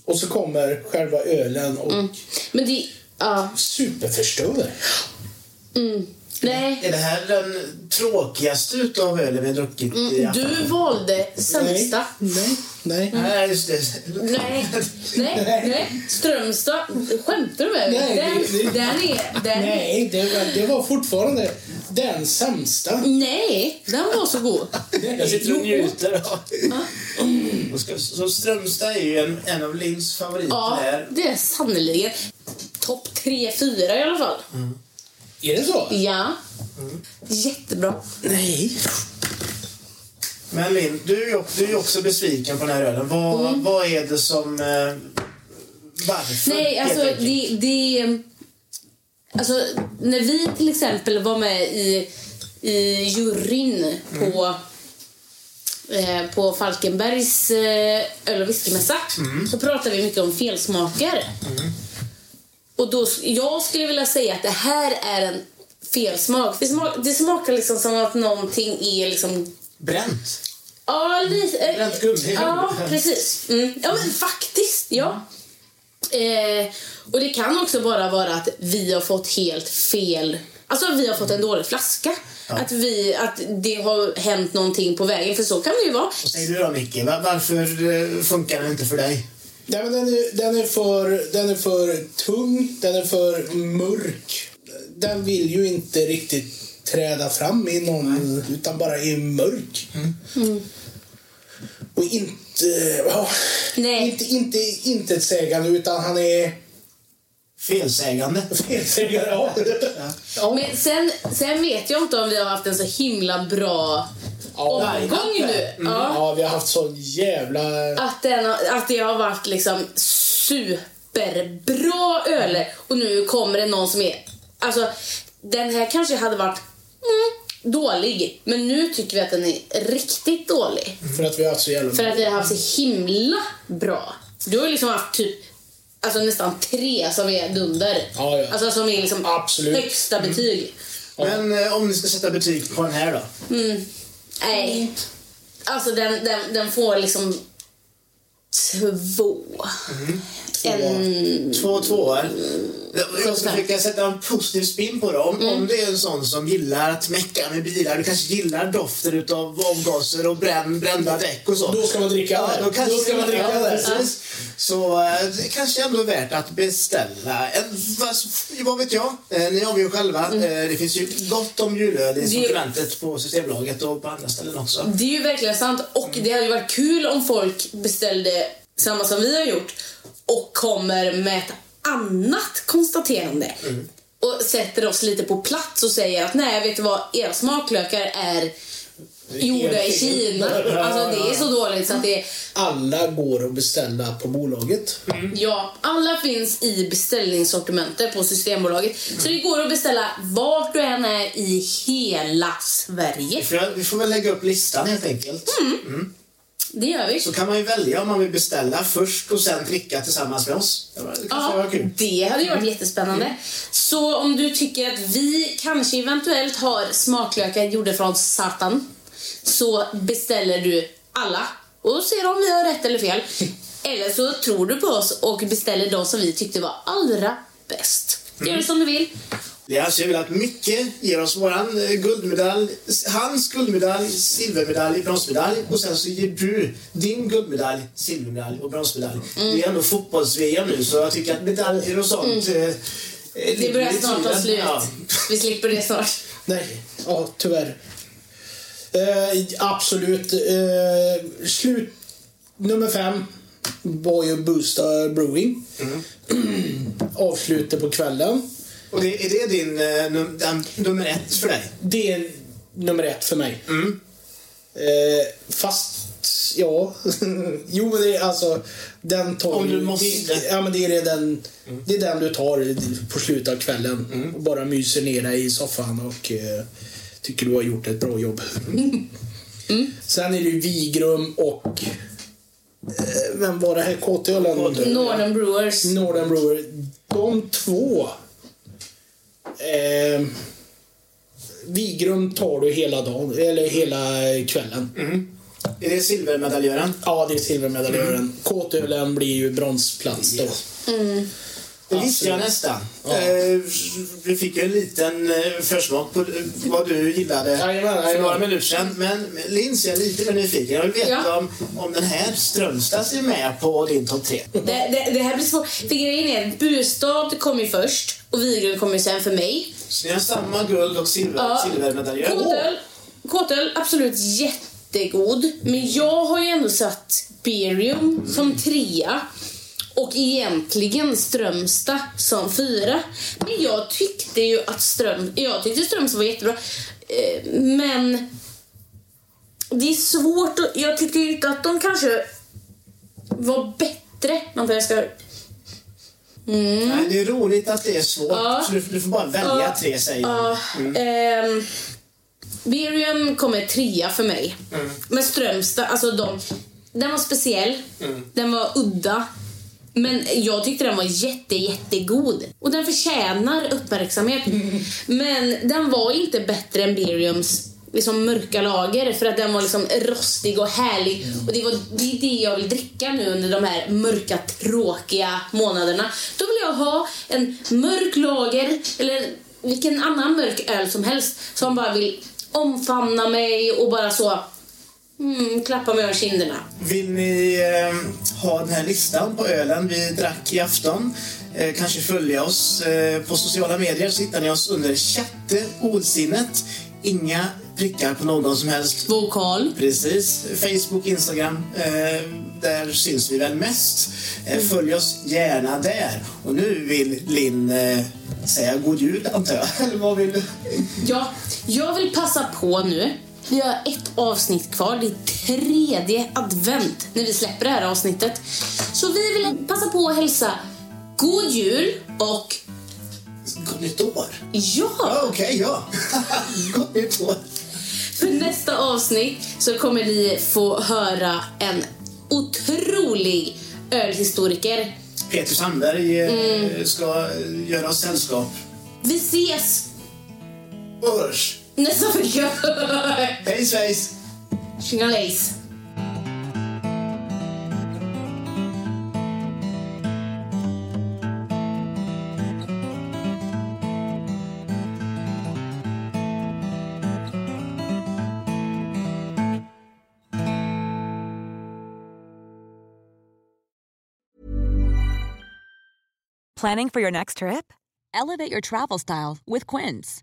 Speaker 3: Och så kommer själva ölen och
Speaker 1: Men det... Ja.
Speaker 3: superförstör.
Speaker 1: Mm. Nej.
Speaker 2: Är det här den tråkigaste utav ölen vi har druckit? i
Speaker 1: Mm,
Speaker 2: afton?
Speaker 1: Du valde sämsta.
Speaker 3: Nej, nej.
Speaker 2: Nej, just det.
Speaker 1: Nej, nej, nej. Strömstad, skämtar du med mig?
Speaker 3: Nej, det-
Speaker 1: Den,
Speaker 3: det-
Speaker 1: den är... Den, nej.
Speaker 3: Nej, det, var- det var fortfarande den sämsta.
Speaker 1: den var så god.
Speaker 2: Jag sitter och njuter av... Och ska- Så Strömstad är ju en, en av Linns favoriter
Speaker 1: Ja,
Speaker 2: här.
Speaker 1: det är sannerligen. Topp 3-4 i alla fall.
Speaker 3: Är det så?
Speaker 1: Ja. Jättebra.
Speaker 2: Nej. Men Linn, du, är ju- du är ju också besviken på den här ölen. Vad,
Speaker 1: Mm.
Speaker 2: vad är det som... Eh, varför?
Speaker 1: Nej,
Speaker 2: helt
Speaker 1: alltså
Speaker 2: enkelt?
Speaker 1: det, det... mm, Alltså, när vi till exempel var med i, i juryn på, eh, på Falkenbergs eh, öl och whiskymässa
Speaker 2: Mm.
Speaker 1: så pratade vi mycket om felsmaker. Och då, jag skulle vilja säga att det här är en felsmak. Det, smak, det smakar liksom som att någonting är liksom
Speaker 2: Bränt.
Speaker 1: Ja, lite. eh,
Speaker 2: Bränt gummi.
Speaker 1: Ja, precis. Mm. Ja, men faktiskt. Ja. Eh, och det kan också bara vara att vi har fått helt fel... Alltså vi har fått en dålig flaska. Att, vi, att det har hänt någonting på vägen, för så kan det ju vara.
Speaker 2: Säger du då, Nicky? Va- Varför eh, funkar den inte för dig?
Speaker 3: Nej, men den, är, den, är för, den är för tung, den är för mörk. Den vill ju inte riktigt träda fram i någon, utan bara är mörk.
Speaker 2: Mm.
Speaker 1: Mm.
Speaker 3: Och inte, ja,
Speaker 1: Nej.
Speaker 3: inte, inte, inte ett sägande, utan han är
Speaker 2: Felsägande.
Speaker 3: felsägare. Ja.
Speaker 1: Men sen, sen vet jag inte om vi har haft en så himla bra omgång nu.
Speaker 2: Mm.
Speaker 1: Ja.
Speaker 3: ja, vi har haft så jävla...
Speaker 1: att, den, har- att det har varit liksom superbra öl och nu kommer det någon som är... Alltså, den här kanske hade varit mm, dålig, men nu tycker vi att den är riktigt dålig.
Speaker 3: För att vi har haft så jävla...
Speaker 1: För att vi har haft så himla bra. Du har ju liksom haft typ alltså nästan tre som är dunder.
Speaker 3: Ja, ja.
Speaker 1: Alltså som är liksom
Speaker 3: Absolut. Mm.
Speaker 1: högsta betyg.
Speaker 2: Men eh, om ni ska sätta betyg på den här då?
Speaker 1: Nej. Alltså den, den, den får liksom två.
Speaker 3: Mm.
Speaker 1: En...
Speaker 2: 2-2 eh. Jag ska försöka sätta en positiv spin på det. Om,
Speaker 1: Mm.
Speaker 2: om det är en sån som gillar att mecka med bilar, du kanske gillar doften utav avgaser och brän, brända däck och så.
Speaker 3: Då ska man dricka
Speaker 2: ja,
Speaker 3: det.
Speaker 2: då kanske
Speaker 3: Då ska man dricka
Speaker 2: ja,
Speaker 3: det.
Speaker 2: Precis. Så eh, det kanske ändå är värt att beställa. En, vad, vad vet jag? Eh, Ni avgör själva.
Speaker 3: Mm.
Speaker 2: Eh, Det finns ju gott om julöl i
Speaker 1: Det-
Speaker 2: sortimentet på Systembolaget och på andra ställen också.
Speaker 1: Det är ju verkligen sant och det hade ju varit kul om folk beställde samma som vi har gjort och kommer med ett annat konstaterande. Och sätter oss lite på plats och säger att nej, vet du vad, era smaklökar är gjorda i Kina. Alltså det är så dåligt så att det
Speaker 3: Alla går att beställa på bolaget.
Speaker 1: Ja, alla finns i beställningssortimentet på Systembolaget. Så det går att beställa vart du än är i hela Sverige.
Speaker 2: För jag- Vi får väl lägga upp listan helt enkelt.
Speaker 3: Mm.
Speaker 1: Det gör vi.
Speaker 2: Så kan man ju välja om man vill beställa först och sen dricka tillsammans med oss. Det var- det kanske
Speaker 1: Ja,
Speaker 2: var kul.
Speaker 1: det hade ju varit jättespännande. Så om du tycker att vi kanske eventuellt har smaklökar gjorda från satan så beställer du alla och ser om vi har rätt eller fel. Eller så tror du på oss och beställer de som vi tyckte var allra bäst. Gör som du vill.
Speaker 2: Det är alltså jag vill att Micke ger oss våran eh, guldmedalj, hans guldmedalj, silvermedalj, bronsmedalj och sen så ger du din guldmedalj, silvermedalj och bronsmedalj.
Speaker 1: Mm.
Speaker 2: Det är ändå fotbolls-VM nu så jag tycker att medaljer och sånt eh, eh,
Speaker 1: Mm. Det
Speaker 2: ligger
Speaker 1: börjar
Speaker 2: i
Speaker 1: snart ta
Speaker 2: tiden.
Speaker 1: slut.
Speaker 2: Ja.
Speaker 1: Vi slipper det snart.
Speaker 3: Nej, ja, tyvärr. Eh, absolut. Eh, slut nummer fem var ju Boosta Brewing. Avslutet på kvällen.
Speaker 2: Och det, är det din eh, num, den, nummer ett för dig?
Speaker 3: Det är nummer ett för mig.
Speaker 2: Mm.
Speaker 3: Eh, fast, ja. jo, men det är alltså... Den tar
Speaker 2: Om du
Speaker 3: ju-
Speaker 2: måste. Mm.
Speaker 3: Det, ja, men det, är den, det är den du tar på slutet av kvällen. Och bara myser ner dig i soffan och eh, tycker du har gjort ett bra jobb. Sen är det ju Vigrum och... Eh, vem var det här? KT-ölen?
Speaker 1: Northern Brewers.
Speaker 3: Northern Brewer. De två. Eh, Vigrum tar du hela dagen, eller hela kvällen.
Speaker 2: Är det silvermedaljören?
Speaker 3: Ja, det är silvermedaljören. Kåtölen blir ju bronsplats då.
Speaker 2: Det visste jag nästan. Eh, Vi fick ju en liten eh, försmak på eh, vad du gillade
Speaker 3: Jajamän,
Speaker 2: för
Speaker 3: jajamän.
Speaker 2: några minuter sedan. Men Linns, jag är lite mer nyfiken. Jag vill veta
Speaker 1: Ja.
Speaker 2: om, om den här Strömstads är med på din topp tre.
Speaker 1: Det, det, det här blir svårt. För grejen är att Bustad kom ju först och Vigrum kom ju sen för mig.
Speaker 2: Så ni har samma guld och silver,
Speaker 1: Ja,
Speaker 2: silvermedaljör.
Speaker 1: Kåtöl, Kåtöl, absolut jätte jättegod. Men jag har ju ändå satt Berium som trea. Och egentligen Strömstad som fyra. Men jag tyckte ju att Ström, jag tyckte Strömstad var jättebra. Eh, Men det är svårt att, Jag tyckte ju inte att de kanske var bättre. Vänta, jag ska...
Speaker 2: Nej, det är roligt att det är svårt.
Speaker 1: Ja.
Speaker 2: Så du, du får bara välja
Speaker 1: Ja.
Speaker 2: tre säger jag.
Speaker 1: Ja. ehm, Birium kommer trea för mig. Men Strömstad, alltså de, den var speciell. Den var udda. Men jag tyckte den var jätte, jättegod. Och den förtjänar uppmärksamhet. Men den var inte bättre än Biriums liksom mörka lager för att den var liksom rostig och härlig. Och det, var, det är det jag vill dricka nu under de här mörka, tråkiga månaderna. Då vill jag ha en mörk lager, eller vilken annan mörk öl som helst, som bara vill omfamna mig och bara så mm, klappa mig över kinderna.
Speaker 2: Vill ni eh, ha den här listan på ölen vi drack i afton? Eh, kanske följa oss eh, på sociala medier så hittar ni oss under Chatte Olsinnet. Inga prickar på någon som helst.
Speaker 1: Vokal.
Speaker 2: Precis. Facebook, Instagram. Eh, där syns vi väl mest. Eh, följ oss gärna där. Och nu vill Linn eh, säga god jul antar jag. Eller vad vill du?
Speaker 1: Ja, jag vill passa på nu. Vi har ett avsnitt kvar. Det är tredje advent när vi släpper det här avsnittet. Så vi vill passa på att hälsa God Jul och
Speaker 2: Gott nytt år.
Speaker 1: ja!
Speaker 2: Ja, Okej, ja. Gott nytt år.
Speaker 1: För nästa avsnitt så kommer ni få höra en otrolig ölhistoriker.
Speaker 2: Peter Sandberg eh, ska eh, göra oss sällskap.
Speaker 1: Vi ses
Speaker 2: Och hörs.
Speaker 1: nästa vecka!
Speaker 2: Hej svejs!
Speaker 1: Tjingalejs!
Speaker 4: Planning for your next trip? Elevate your travel style with Quince.